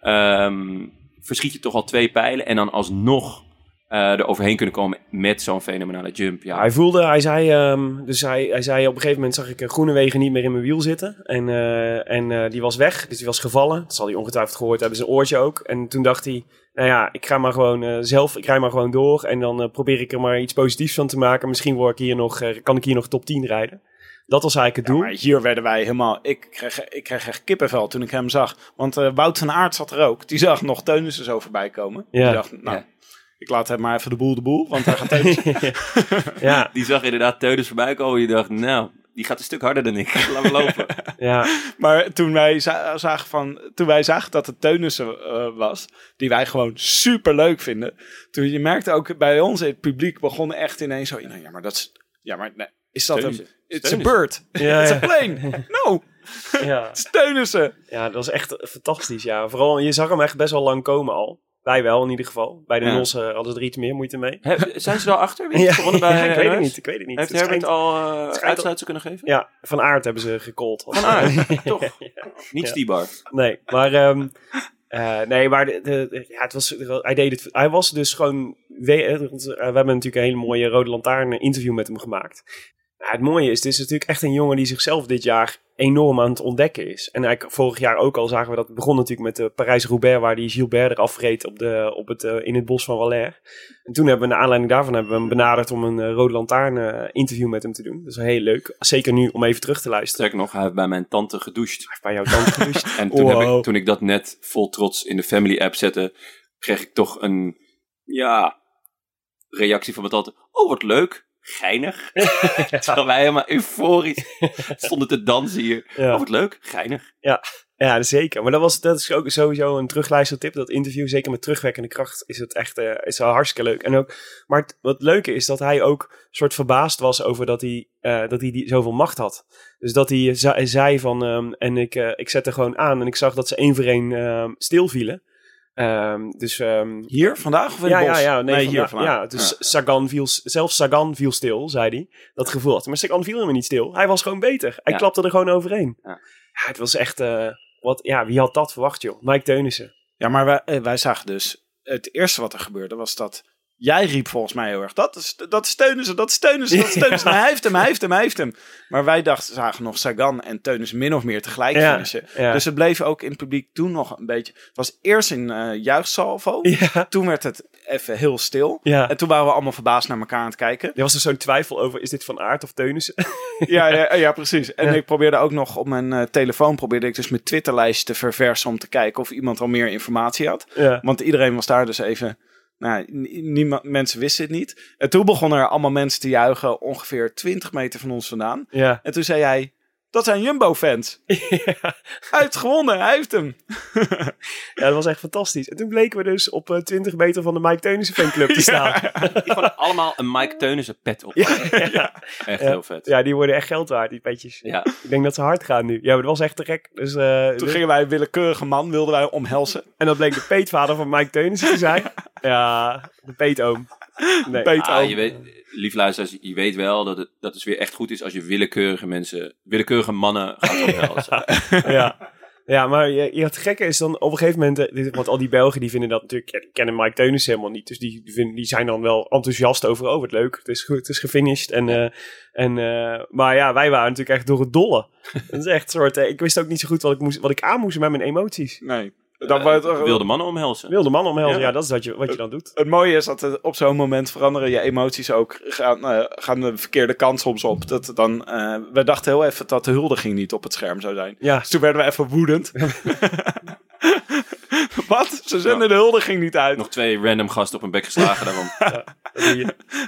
[SPEAKER 1] Ehm, verschiet je toch al twee pijlen en dan alsnog eh er overheen kunnen komen met zo'n fenomenale jump. Ja,
[SPEAKER 2] Hij voelde, hij zei, ehm, dus hij, hij zei op een gegeven moment zag ik eh, Groenewegen niet meer in mijn wiel zitten. En, eh, en eh, die was weg, dus die was gevallen. Dat zal hij ongetwijfeld gehoord hebben, zijn oortje ook. En toen dacht hij, nou ja, ik ga maar gewoon eh, zelf, ik rij maar gewoon door. En dan eh, probeer ik er maar iets positiefs van te maken. Misschien word ik hier nog, eh, kan ik hier nog top 10 rijden. Dat was eigenlijk het doel.
[SPEAKER 6] Maar hier werden wij helemaal... Ik kreeg, ik kreeg echt kippenvel toen ik hem zag. Want eh, Wout van Aert zat er ook. Die zag nog Teunissen zo voorbij komen.
[SPEAKER 2] Ja.
[SPEAKER 6] Die dacht, nou,
[SPEAKER 1] Ja.
[SPEAKER 6] ik laat hem maar even de boel de boel. Want eh, hij gaat Teunissen...
[SPEAKER 2] ja,
[SPEAKER 1] Die zag inderdaad Teuders voorbij komen. Die dacht, nou, die gaat een stuk harder dan ik. Laat me lopen.
[SPEAKER 2] ja,
[SPEAKER 6] Maar toen wij, za- zagen van, toen wij zagen dat het Teunissen eh, was, die wij gewoon super leuk vinden. Toen je merkte ook bij ons in het publiek begon echt ineens zo. Nou, ja, maar dat is. Ja, maar nee, is dat
[SPEAKER 1] Teunissen.
[SPEAKER 6] een. It's a
[SPEAKER 1] Teunissen.
[SPEAKER 6] bird.
[SPEAKER 2] Ja,
[SPEAKER 6] It's
[SPEAKER 2] ja.
[SPEAKER 6] a plane. No,
[SPEAKER 2] ja.
[SPEAKER 6] it's Teunissen.
[SPEAKER 2] Ja, dat was echt fantastisch. Ja. Vooral, je zag hem echt best wel lang komen al. Wij wel in ieder geval. Bij de
[SPEAKER 1] Ja.
[SPEAKER 2] Nols eh, hadden ze er iets meer moeite mee.
[SPEAKER 1] He- zijn ze er al achter? Wie heeft gewonnen bij
[SPEAKER 2] Ja, ik weet het
[SPEAKER 1] Herbert?
[SPEAKER 2] niet. Ik weet het niet.
[SPEAKER 1] Heeft
[SPEAKER 2] Het
[SPEAKER 1] Herbert
[SPEAKER 2] schijnt-
[SPEAKER 1] al eh
[SPEAKER 2] schijnt al-
[SPEAKER 1] uitsluitsel kunnen geven?
[SPEAKER 2] Ja, van aard hebben ze gecallt. Van
[SPEAKER 1] Aert, toch? Niet
[SPEAKER 2] Ja.
[SPEAKER 1] Stibar.
[SPEAKER 2] Nee, maar, ehm, eh, nee, maar de, de- de- ja, het was, hij, deed het, hij was dus gewoon... We, eh, we hebben natuurlijk een hele mooie Rode Lantaarn interview met hem gemaakt. Nou, het mooie is, het is natuurlijk echt een jongen die zichzelf dit jaar enorm aan het ontdekken is. En eigenlijk vorig jaar ook al zagen we dat. Het begon natuurlijk met de Parijs-Roubaix, waar die Gilbert eraf reed op de, op het, eh, in het bos van Valère. En toen hebben we, naar aanleiding daarvan, hebben we hem benaderd om een eh, Rode Lantaarn eh, interview met hem te doen. Dat is heel leuk. Zeker nu om even terug te luisteren.
[SPEAKER 1] Sterker nog, hij heeft bij mijn tante gedoucht.
[SPEAKER 2] Bij jouw tante gedoucht.
[SPEAKER 1] En toen, heb
[SPEAKER 2] Wow.
[SPEAKER 1] ik, toen ik dat net vol trots in de family app zette, kreeg ik toch een, ja, reactie van mijn tante. Oh, wat leuk. Geinig. Terwijl wij helemaal euforisch stonden te dansen hier.
[SPEAKER 2] Ja.
[SPEAKER 1] Oh, wat leuk. Geinig.
[SPEAKER 2] Ja, zeker. Maar dat, was, dat is ook sowieso een terugluistertip. Dat interview, zeker met terugwekkende kracht, is het echt eh, is wel hartstikke leuk. En ook, maar het, wat leuke is dat hij ook soort verbaasd was over dat hij, eh, dat hij die, zoveel macht had. Dus dat hij ze- zei van, ehm, en ik, eh, ik zette gewoon aan en ik zag dat ze één voor één ehm, stilvielen. Ehm, dus ehm,
[SPEAKER 6] Hier vandaag of in
[SPEAKER 2] ja,
[SPEAKER 6] het
[SPEAKER 2] ja,
[SPEAKER 6] bos?
[SPEAKER 2] ja, nee,
[SPEAKER 6] hier
[SPEAKER 2] vandaag-
[SPEAKER 6] vandaag.
[SPEAKER 2] Ja, dus Sagan viel, s- zelfs Sagan viel stil, zei hij. Dat gevoel had hij. Maar Sagan viel helemaal niet stil. Hij was gewoon beter. Hij
[SPEAKER 1] Ja.
[SPEAKER 2] klapte er gewoon overheen.
[SPEAKER 1] Ja.
[SPEAKER 2] Ja. het was echt... eh, wat, ja, wie had dat verwacht, joh? Mike Teunissen.
[SPEAKER 6] Ja, maar wij, eh, wij zagen dus. Het eerste wat er gebeurde was dat. Jij riep volgens mij heel erg. Dat, is, dat steunen ze, dat steunen ze, dat steunen ze. Maar Hij heeft hem, hij heeft hem, hij heeft hem. Maar wij dachten, zagen nog Sagan en Teunissen min of meer tegelijk
[SPEAKER 2] Ja,
[SPEAKER 6] finishen.
[SPEAKER 2] ja.
[SPEAKER 6] Dus het bleef ook in het publiek toen nog een beetje. Het was eerst een eh juichsalvo.
[SPEAKER 2] Ja.
[SPEAKER 6] Toen werd het even heel stil.
[SPEAKER 2] Ja.
[SPEAKER 6] En toen waren we allemaal verbaasd naar elkaar aan het kijken.
[SPEAKER 2] Er was er zo'n twijfel over, is dit Van Aert of Teunissen?
[SPEAKER 6] Ja, ja, eh, ja precies. En
[SPEAKER 2] Ja.
[SPEAKER 6] ik probeerde ook nog op mijn eh, telefoon, probeerde ik dus mijn Twitterlijst te verversen om te kijken of iemand al meer informatie had.
[SPEAKER 2] ja.
[SPEAKER 6] Want iedereen was daar dus even. Nou, nie- niemand, mensen wisten het niet. En toen begonnen er allemaal mensen te juichen, ongeveer 20 meter van ons vandaan.
[SPEAKER 2] Ja.
[SPEAKER 6] En toen zei hij: Dat zijn Jumbo-fans. Hij heeft gewonnen, hij heeft hem.
[SPEAKER 2] ja, dat was echt fantastisch. En toen bleken we dus op eh, 20 meter van de Mike Teunissen fanclub te staan. Ja,
[SPEAKER 1] Die gewoon allemaal een Mike Teunissen pet op. Echt heel vet.
[SPEAKER 2] die worden echt geld waard, die petjes.
[SPEAKER 1] Ja.
[SPEAKER 2] Ik denk dat ze hard gaan nu. Ja, maar dat was echt te gek. Dus, eh,
[SPEAKER 6] Toen gingen wij een willekeurige man, wilden wij omhelzen.
[SPEAKER 2] En dat bleek de peetvader van Mike Teunissen te zijn. Ja, de peetoom. Nee.
[SPEAKER 1] Ah, je weet, lief luisteraars, je weet wel dat het, dat het weer echt goed is als je willekeurige mensen, willekeurige mannen gaat ophelzen.
[SPEAKER 2] ja. ja, maar je, je, het gekke is dan op een gegeven moment... eh, dit- Want al die Belgen die vinden dat natuurlijk... Ja, die kennen Mike Teunissen helemaal niet. Dus die, vinden, die zijn dan wel enthousiast over... Oh, wat leuk. Het is goed. Het is gefinished. En, eh, en, eh, maar ja, wij waren natuurlijk echt door het dolle. Dat is echt een soort... eh, ik wist ook niet zo goed wat ik, moest, wat ik aan moest met mijn emoties.
[SPEAKER 6] Nee. Dat was
[SPEAKER 1] Eh, wilde mannen omhelzen.
[SPEAKER 2] Wilde man omhelzen.
[SPEAKER 6] Ja.
[SPEAKER 2] Ja, dat is wat je, wat je dan doet.
[SPEAKER 6] het mooie is dat het op zo'n moment veranderen je emoties ook. Gaan, eh, gaan de verkeerde kant soms op. Dat dan, eh, we dachten heel even dat de huldiging niet op het scherm zou zijn.
[SPEAKER 2] Ja.
[SPEAKER 6] Dus toen werden we even woedend. Wat? Ze zenden de huldiging niet uit.
[SPEAKER 1] Nog twee random gasten op een bek geslagen daarom.
[SPEAKER 2] Dat doe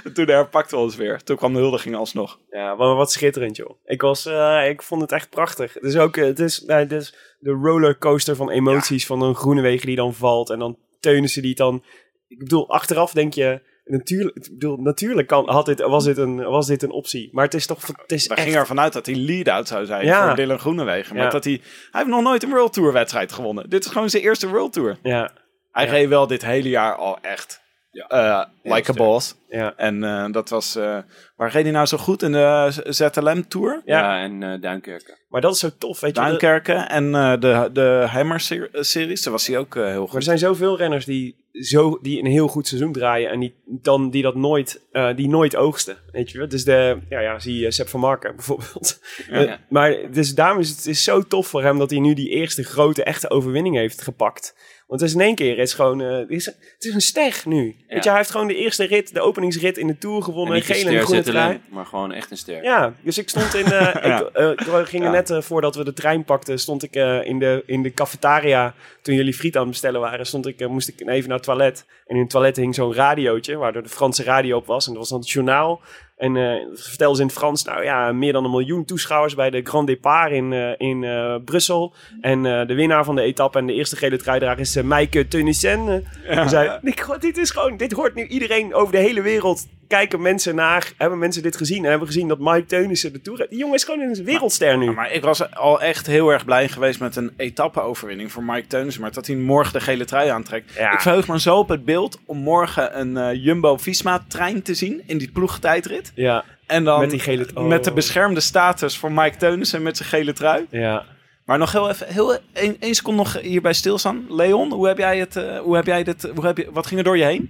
[SPEAKER 2] je.
[SPEAKER 6] Toen herpakten we ons weer. Toen kwam de huldiging alsnog.
[SPEAKER 2] Ja, maar wat schitterend, joh. Ik, was, eh, ik vond het echt prachtig. Het is ook eh, het is, nou, het is de rollercoaster van emoties. Van een groene wegen die dan valt. En dan Teunissen die het dan... Ik bedoel, achteraf denk je... Natuurlijk, ik bedoel, natuurlijk kan, had dit, was, dit een, was dit een optie. Maar het is toch. Het is
[SPEAKER 6] We
[SPEAKER 2] echt,
[SPEAKER 6] gingen ervan uit dat hij lead-out zou zijn
[SPEAKER 2] Ja.
[SPEAKER 6] voor Dylan Groenewegen. Maar
[SPEAKER 2] Ja.
[SPEAKER 6] dat hij... Hij heeft nog nooit een World Tour wedstrijd gewonnen. Dit is gewoon zijn eerste World Tour.
[SPEAKER 2] ja,
[SPEAKER 6] Hij
[SPEAKER 2] Ja.
[SPEAKER 6] reed wel dit hele jaar al echt
[SPEAKER 1] Ja.
[SPEAKER 6] eh, like a
[SPEAKER 1] sterk.
[SPEAKER 6] boss.
[SPEAKER 2] ja.
[SPEAKER 6] En eh, dat was... eh, waar reed hij nou zo goed in de ZLM Tour?
[SPEAKER 2] Ja.
[SPEAKER 1] Ja, en eh Duinkerken.
[SPEAKER 2] Maar dat is zo tof, weet je. dat-
[SPEAKER 6] Duinkerken en eh, de, de Hammer ser- Series. Daar was hij ook eh, heel
[SPEAKER 2] Maar er
[SPEAKER 6] goed.
[SPEAKER 2] zijn zoveel renners die, zo, die een heel goed seizoen draaien en die, dan, die dat nooit, eh, die nooit oogsten. Weet je wel? Dus de, ja, ja, zie je Sepp van Marken bijvoorbeeld. Eh,
[SPEAKER 1] ja.
[SPEAKER 2] maar dus daarom is het, het is zo tof voor hem dat hij nu die eerste grote, echte overwinning heeft gepakt. Want het is in één keer, het is gewoon, eh, het, is, het is een ster nu. Weet je, hij heeft gewoon de eerste rit, de openingsrit in de Tour gewonnen.
[SPEAKER 1] niet
[SPEAKER 2] En
[SPEAKER 1] een
[SPEAKER 2] gele en
[SPEAKER 1] ster
[SPEAKER 2] groene
[SPEAKER 1] zetten,
[SPEAKER 2] trui.
[SPEAKER 1] maar gewoon echt een ster.
[SPEAKER 2] Ja, dus ik stond in. eh, ik, eh, ik ging er net eh, voordat we de trein pakten, stond ik eh, in, de, in de cafetaria. Toen jullie friet aan het bestellen waren, stond ik, eh, moest ik even naar het toilet. En in het toilet hing zo'n radiootje, waardoor de Franse radio op was. En dat was dan het journaal. En eh dat vertelden ze in het Frans, nou ja, meer dan een miljoen toeschouwers bij de Grand Départ in, eh, in eh, Brussel. En eh, de winnaar van de etappe en de eerste gele truidrager is eh, Maaike Teunissen. Eh, en zei, "Ik- God, dit is gewoon, dit hoort nu iedereen over de hele wereld. Kijken mensen naar, hebben mensen dit gezien? En hebben gezien dat Mike Teunissen de Tour... Die jongen is gewoon een wereldster nu.
[SPEAKER 6] Maar ik was al echt heel erg blij geweest met een etappe-overwinning voor Mike Teunissen. Maar dat hij morgen de gele trui aantrekt.
[SPEAKER 2] Ja.
[SPEAKER 6] Ik verheug me zo op het beeld om morgen een eh, Jumbo-Visma-trein te zien in die ploegtijdrit.
[SPEAKER 2] Ja,
[SPEAKER 6] En dan
[SPEAKER 2] Met die gele- oh.
[SPEAKER 6] met de beschermde status voor Mike Teunissen met zijn gele trui.
[SPEAKER 2] ja.
[SPEAKER 6] Maar nog heel even, heel, één, één seconde nog hierbij stilstaan. Leon, hoe heb jij het, eh, hoe heb jij dit, hoe heb je, wat ging er door je heen?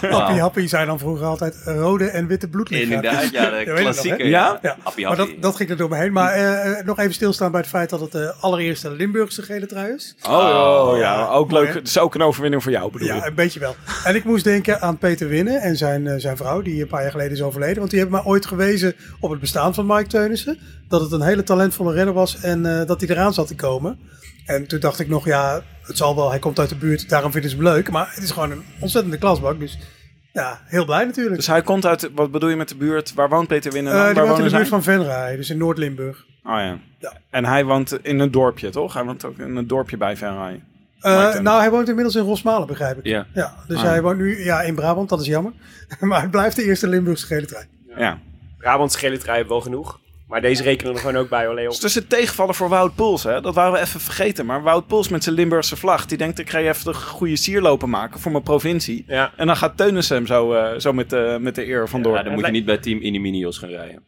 [SPEAKER 7] Happy Happy zei dan vroeger altijd rode en witte bloedlichaam.
[SPEAKER 1] Inderdaad, ja, de
[SPEAKER 7] weet ik nog,
[SPEAKER 1] klassieker.
[SPEAKER 7] hè?
[SPEAKER 6] Ja?
[SPEAKER 7] Ja,
[SPEAKER 1] Happy,
[SPEAKER 7] maar dat,
[SPEAKER 1] happy.
[SPEAKER 7] dat ging er door me heen. Maar eh, eh, nog even stilstaan bij het feit dat het de allereerste Limburgse gele trui is.
[SPEAKER 6] Oh, ja, ook
[SPEAKER 7] Eh, Mooi,
[SPEAKER 6] leuk.
[SPEAKER 7] hè?
[SPEAKER 6] Het is ook een overwinning voor jou, bedoel
[SPEAKER 7] Ja,
[SPEAKER 6] je?
[SPEAKER 7] een beetje wel. En ik moest denken aan Peter Winnen en zijn, eh, zijn vrouw, die een paar jaar geleden is overleden. Want die hebben mij ooit gewezen op het bestaan van Mike Teunissen. Dat het een hele talentvolle renner was en eh, dat hij eraan zat te komen. En toen dacht ik nog, ja, het zal wel, hij komt uit de buurt, daarom vinden ze hem leuk. Maar het is gewoon een ontzettende klasbak, dus ja, heel blij natuurlijk.
[SPEAKER 6] Dus hij komt uit, wat bedoel je met de buurt? Waar woont Peter Winnen?
[SPEAKER 7] Eh,
[SPEAKER 6] dan?
[SPEAKER 7] die
[SPEAKER 6] waar
[SPEAKER 7] woont in de
[SPEAKER 6] wonen
[SPEAKER 7] buurt
[SPEAKER 6] zij?
[SPEAKER 7] van Venray, dus in Noord-Limburg.
[SPEAKER 6] Oh ja.
[SPEAKER 7] Ja.
[SPEAKER 6] En hij woont in een dorpje, toch? Hij woont ook in een dorpje bij Venray.
[SPEAKER 7] Eh,
[SPEAKER 6] Mike Teunissen.
[SPEAKER 7] nou, hij woont inmiddels in Rosmalen, begrijp ik.
[SPEAKER 1] Ja.
[SPEAKER 7] Ja, dus
[SPEAKER 6] Ah.
[SPEAKER 7] hij woont nu ja, in Brabant, dat is jammer. Maar hij blijft de eerste Limburgse gele trein.
[SPEAKER 6] Ja.
[SPEAKER 2] Brabants gele trui hebben we wel genoeg. Maar deze rekenen we er gewoon ook bij, hoor, Leon.
[SPEAKER 6] Dus het is een tegenvaller voor Wout Poels, hè? Dat waren we even vergeten. Maar Wout Poels met zijn Limburgse vlag, die denkt ik ga je even de goede sierlopen maken voor mijn provincie.
[SPEAKER 2] Ja.
[SPEAKER 6] En dan gaat Teunissen hem zo, eh, zo met, de- met de eer vandoor.
[SPEAKER 1] Ja, dan moet je niet bij Team Iniminios gaan rijden.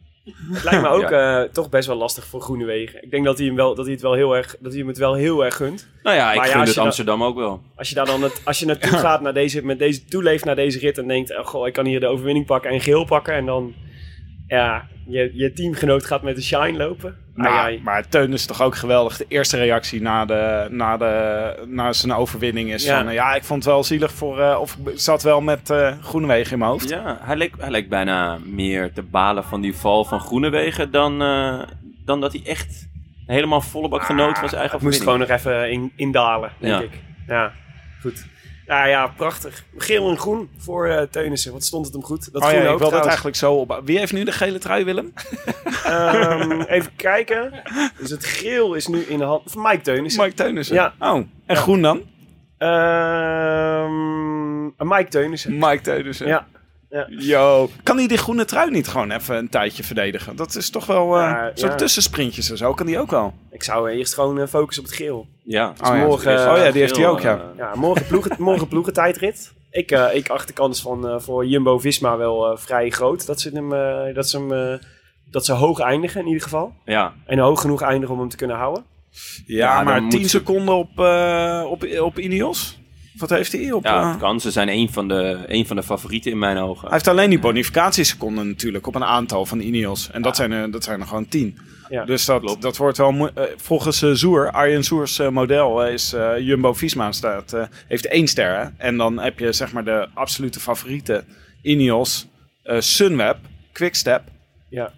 [SPEAKER 2] Het lijkt me ook eh, toch best wel lastig voor Groenewegen. Ik denk dat hij hem, wel, dat hij het, wel heel erg, dat hij hem het wel heel erg gunt.
[SPEAKER 1] Nou ja, ik
[SPEAKER 2] Maar ja,
[SPEAKER 1] gun het
[SPEAKER 2] als je dat-
[SPEAKER 1] Amsterdam ook wel.
[SPEAKER 2] Als je daar dan het, als je naartoe gaat naar deze, met deze toeleeft naar deze rit en denkt, oh, goh, ik kan hier de overwinning pakken en geel pakken en dan ja, je, je teamgenoot gaat met de shine lopen. Ah,
[SPEAKER 6] Nou,
[SPEAKER 2] Ai, ai.
[SPEAKER 6] maar Teun is toch ook geweldig. De eerste reactie na, de, na, de, na zijn overwinning is
[SPEAKER 2] Ja.
[SPEAKER 6] van... eh, Ja, ik vond het wel zielig voor... eh, of ik zat wel met eh Groenewegen in mijn hoofd.
[SPEAKER 1] Ja, hij leek, hij leek bijna meer te balen van die val van Groenewegen dan, eh, dan dat hij echt helemaal volle bak genoot van zijn eigen
[SPEAKER 2] Het moest
[SPEAKER 1] overwinning.
[SPEAKER 2] gewoon nog even in, indalen, denk
[SPEAKER 1] Ja.
[SPEAKER 2] ik. Ja, goed. Ja, ja, prachtig. Geel en groen voor eh Teunissen. Wat stond het hem goed? Dat
[SPEAKER 6] oh ja,
[SPEAKER 2] groene
[SPEAKER 6] ik
[SPEAKER 2] ook
[SPEAKER 6] wil dat
[SPEAKER 2] trouwens.
[SPEAKER 6] eigenlijk zo op... Wie heeft nu de gele trui, Willem?
[SPEAKER 2] Ehm, even kijken. Dus het geel is nu in de hand van Mike Teunissen.
[SPEAKER 6] Mike Teunissen.
[SPEAKER 2] Ja.
[SPEAKER 6] Oh, en groen dan?
[SPEAKER 2] Ehm, Mike Teunissen.
[SPEAKER 6] Mike Teunissen.
[SPEAKER 2] Ja. Ja.
[SPEAKER 6] Yo. Kan hij die groene trui niet gewoon even een tijdje verdedigen? Dat is toch wel... eh
[SPEAKER 2] Ja,
[SPEAKER 6] Zo'n
[SPEAKER 2] ja.
[SPEAKER 6] tussensprintjes en zo kan die ook al.
[SPEAKER 2] Ik zou eerst gewoon eh, focussen op het geel.
[SPEAKER 1] Ja,
[SPEAKER 6] Oh ja.
[SPEAKER 2] morgen,
[SPEAKER 6] oh ja, die heeft hij ook, ja.
[SPEAKER 2] Ja, morgen, ploegen, morgen ploegentijdrit. Ik, eh, ik acht de kans van, eh, voor Jumbo-Visma wel eh, vrij groot. Dat ze, hem, eh, dat, ze hem, eh, dat ze hoog eindigen in ieder geval.
[SPEAKER 1] ja,
[SPEAKER 2] En hoog genoeg eindigen om hem te kunnen houden.
[SPEAKER 6] Ja,
[SPEAKER 1] dan
[SPEAKER 6] maar
[SPEAKER 1] moet
[SPEAKER 6] 10
[SPEAKER 1] ze-
[SPEAKER 6] seconden op, eh op, op Ineos? Wat heeft hij op...
[SPEAKER 1] ja,
[SPEAKER 6] eh,
[SPEAKER 1] het kan. Ze zijn een van, de, een van de favorieten in mijn ogen.
[SPEAKER 6] Hij heeft alleen die bonificatieseconden natuurlijk op een aantal van Ineos. En dat, zijn er, dat zijn er gewoon tien.
[SPEAKER 2] Ja.
[SPEAKER 6] dus dat, dat wordt wel... moe- eh, volgens eh, Zoer, Arjen Soers model eh, is eh, Jumbo-Visma staat, eh, heeft één ster. hè. En dan heb je zeg maar de absolute favorieten. Ineos, eh, Sunweb, Quickstep.
[SPEAKER 2] Ja.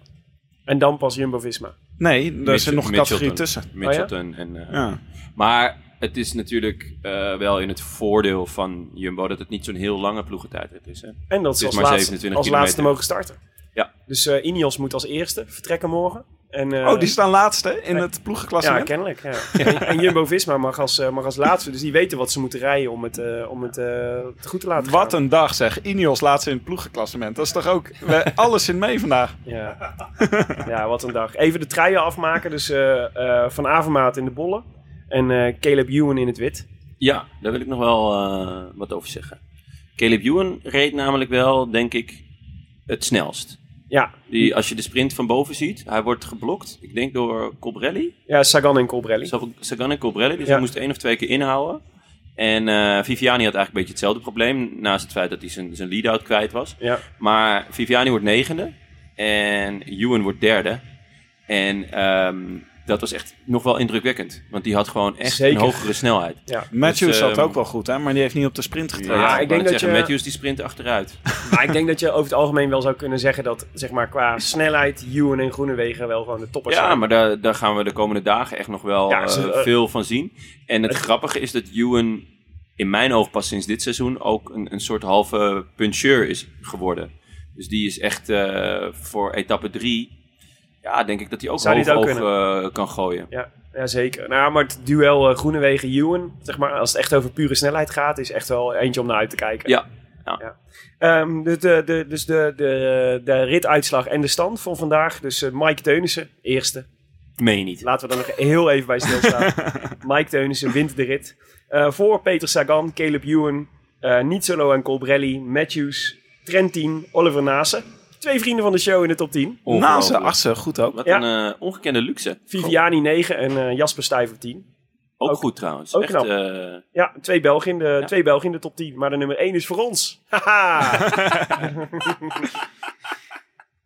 [SPEAKER 2] En dan pas Jumbo-Visma.
[SPEAKER 6] Nee, daar zit
[SPEAKER 1] Mitchell-
[SPEAKER 6] nog een categorie
[SPEAKER 1] Mitchelton.
[SPEAKER 6] tussen. Oh
[SPEAKER 1] Mitchelton en... eh,
[SPEAKER 6] Ja.
[SPEAKER 1] Maar het is natuurlijk eh, wel in het voordeel van Jumbo dat het niet zo'n heel lange ploegentijdrit is. Hè?
[SPEAKER 2] En dat
[SPEAKER 1] Het
[SPEAKER 2] ze
[SPEAKER 1] is
[SPEAKER 2] als,
[SPEAKER 1] maar
[SPEAKER 2] laatste,
[SPEAKER 1] 27
[SPEAKER 2] als
[SPEAKER 1] kilometer.
[SPEAKER 2] laatste mogen starten.
[SPEAKER 1] Ja.
[SPEAKER 2] Dus eh Ineos moet als eerste vertrekken morgen. Eh, En, eh,
[SPEAKER 6] Oh, die staan laatste in
[SPEAKER 2] nee.
[SPEAKER 6] het
[SPEAKER 2] Ja,
[SPEAKER 6] ploegenklassement?
[SPEAKER 2] kennelijk. Ja. En- en Jumbo-Visma mag als, eh, mag als laatste. Dus die weten wat ze moeten rijden om het, eh, om het eh, goed te laten
[SPEAKER 6] Wat
[SPEAKER 2] gaan.
[SPEAKER 6] een dag zeg. Ineos laatste in het ploegenklassement. Dat is toch ook... we- alles in mee vandaag.
[SPEAKER 2] Ja. ja, wat een dag. Even de truien afmaken. Dus eh, eh, Van Avermaat in de bollen. En eh, Caleb Ewan in het wit.
[SPEAKER 1] Ja, daar wil ik nog wel eh, wat over zeggen. Caleb Ewan reed namelijk wel, denk ik, het snelst.
[SPEAKER 2] Ja,
[SPEAKER 1] Die, als je de sprint van boven ziet, hij wordt geblokt. Ik denk door Cobrelli.
[SPEAKER 2] ja Sagan en Colbrelli.
[SPEAKER 1] Zag- Sagan en Colbrelli, dus
[SPEAKER 2] Ja.
[SPEAKER 1] hij moest één of twee keer inhouden. En eh, Viviani had eigenlijk een beetje hetzelfde probleem. Naast het feit dat hij zijn, zijn lead-out kwijt was.
[SPEAKER 2] Ja.
[SPEAKER 1] Maar Viviani wordt negende. En Ewan wordt derde. En ehm, dat was echt nog wel indrukwekkend. Want die had gewoon echt
[SPEAKER 2] Zeker.
[SPEAKER 1] een hogere snelheid.
[SPEAKER 6] Matthews
[SPEAKER 1] Dus,
[SPEAKER 6] zat
[SPEAKER 1] ehm,
[SPEAKER 6] ook wel goed, hè? Maar die heeft niet op de sprint getraind.
[SPEAKER 2] Ja,
[SPEAKER 1] ik,
[SPEAKER 2] ik denk
[SPEAKER 1] denk
[SPEAKER 2] dat
[SPEAKER 1] dat zeggen,
[SPEAKER 2] je-
[SPEAKER 1] Matthews die sprint achteruit.
[SPEAKER 2] Maar ik denk dat je over het algemeen wel zou kunnen zeggen dat, zeg maar, qua snelheid, Ewan en Groenewegen wel gewoon de toppers
[SPEAKER 1] Ja,
[SPEAKER 2] zijn.
[SPEAKER 1] maar daar, daar gaan we de komende dagen echt nog wel
[SPEAKER 2] Ja, ze-
[SPEAKER 1] eh,
[SPEAKER 2] eh,
[SPEAKER 1] veel van zien. En het, grappige is dat Ewan in mijn oog pas sinds dit seizoen ook een, een soort halve puncheur is geworden. Dus die is echt eh, voor etappe drie, ja, denk ik dat hij ook
[SPEAKER 2] Zou die
[SPEAKER 1] hoog
[SPEAKER 2] het ook
[SPEAKER 1] oog eh, kan gooien.
[SPEAKER 2] Ja, ja, zeker. Nou, maar het duel eh, Groenewegen-Ewan, zeg maar, als het echt over pure snelheid gaat, is echt wel eentje om naar uit te kijken.
[SPEAKER 1] Ja.
[SPEAKER 2] Ehm, de, de, de, dus de, de, de rituitslag en de stand van vandaag. Dus eh, Mike Teunissen, eerste.
[SPEAKER 1] Meen je niet.
[SPEAKER 2] Laten we daar nog heel even bij stilstaan. Mike Teunissen wint de rit. Eh, voor Peter Sagan, Caleb Ewan, eh Nizzolo en Colbrelli, Matthews, Trentin, Oliver Nase. Twee vrienden van de show in de top 10.
[SPEAKER 6] Na zijn
[SPEAKER 1] Ongelooflijk.
[SPEAKER 6] achtste, goed ook.
[SPEAKER 1] Wat
[SPEAKER 2] Ja.
[SPEAKER 1] een eh, ongekende luxe.
[SPEAKER 2] Viviani 9 en eh, Jasper Stuyver 10.
[SPEAKER 1] Ook,
[SPEAKER 2] Ook-
[SPEAKER 1] goed trouwens.
[SPEAKER 2] ook
[SPEAKER 1] echt,
[SPEAKER 2] knap.
[SPEAKER 1] eh,
[SPEAKER 2] Ja, twee Belgen in de,
[SPEAKER 1] Ja.
[SPEAKER 2] twee Belgen in de top 10. Maar de nummer 1 is voor ons. Haha!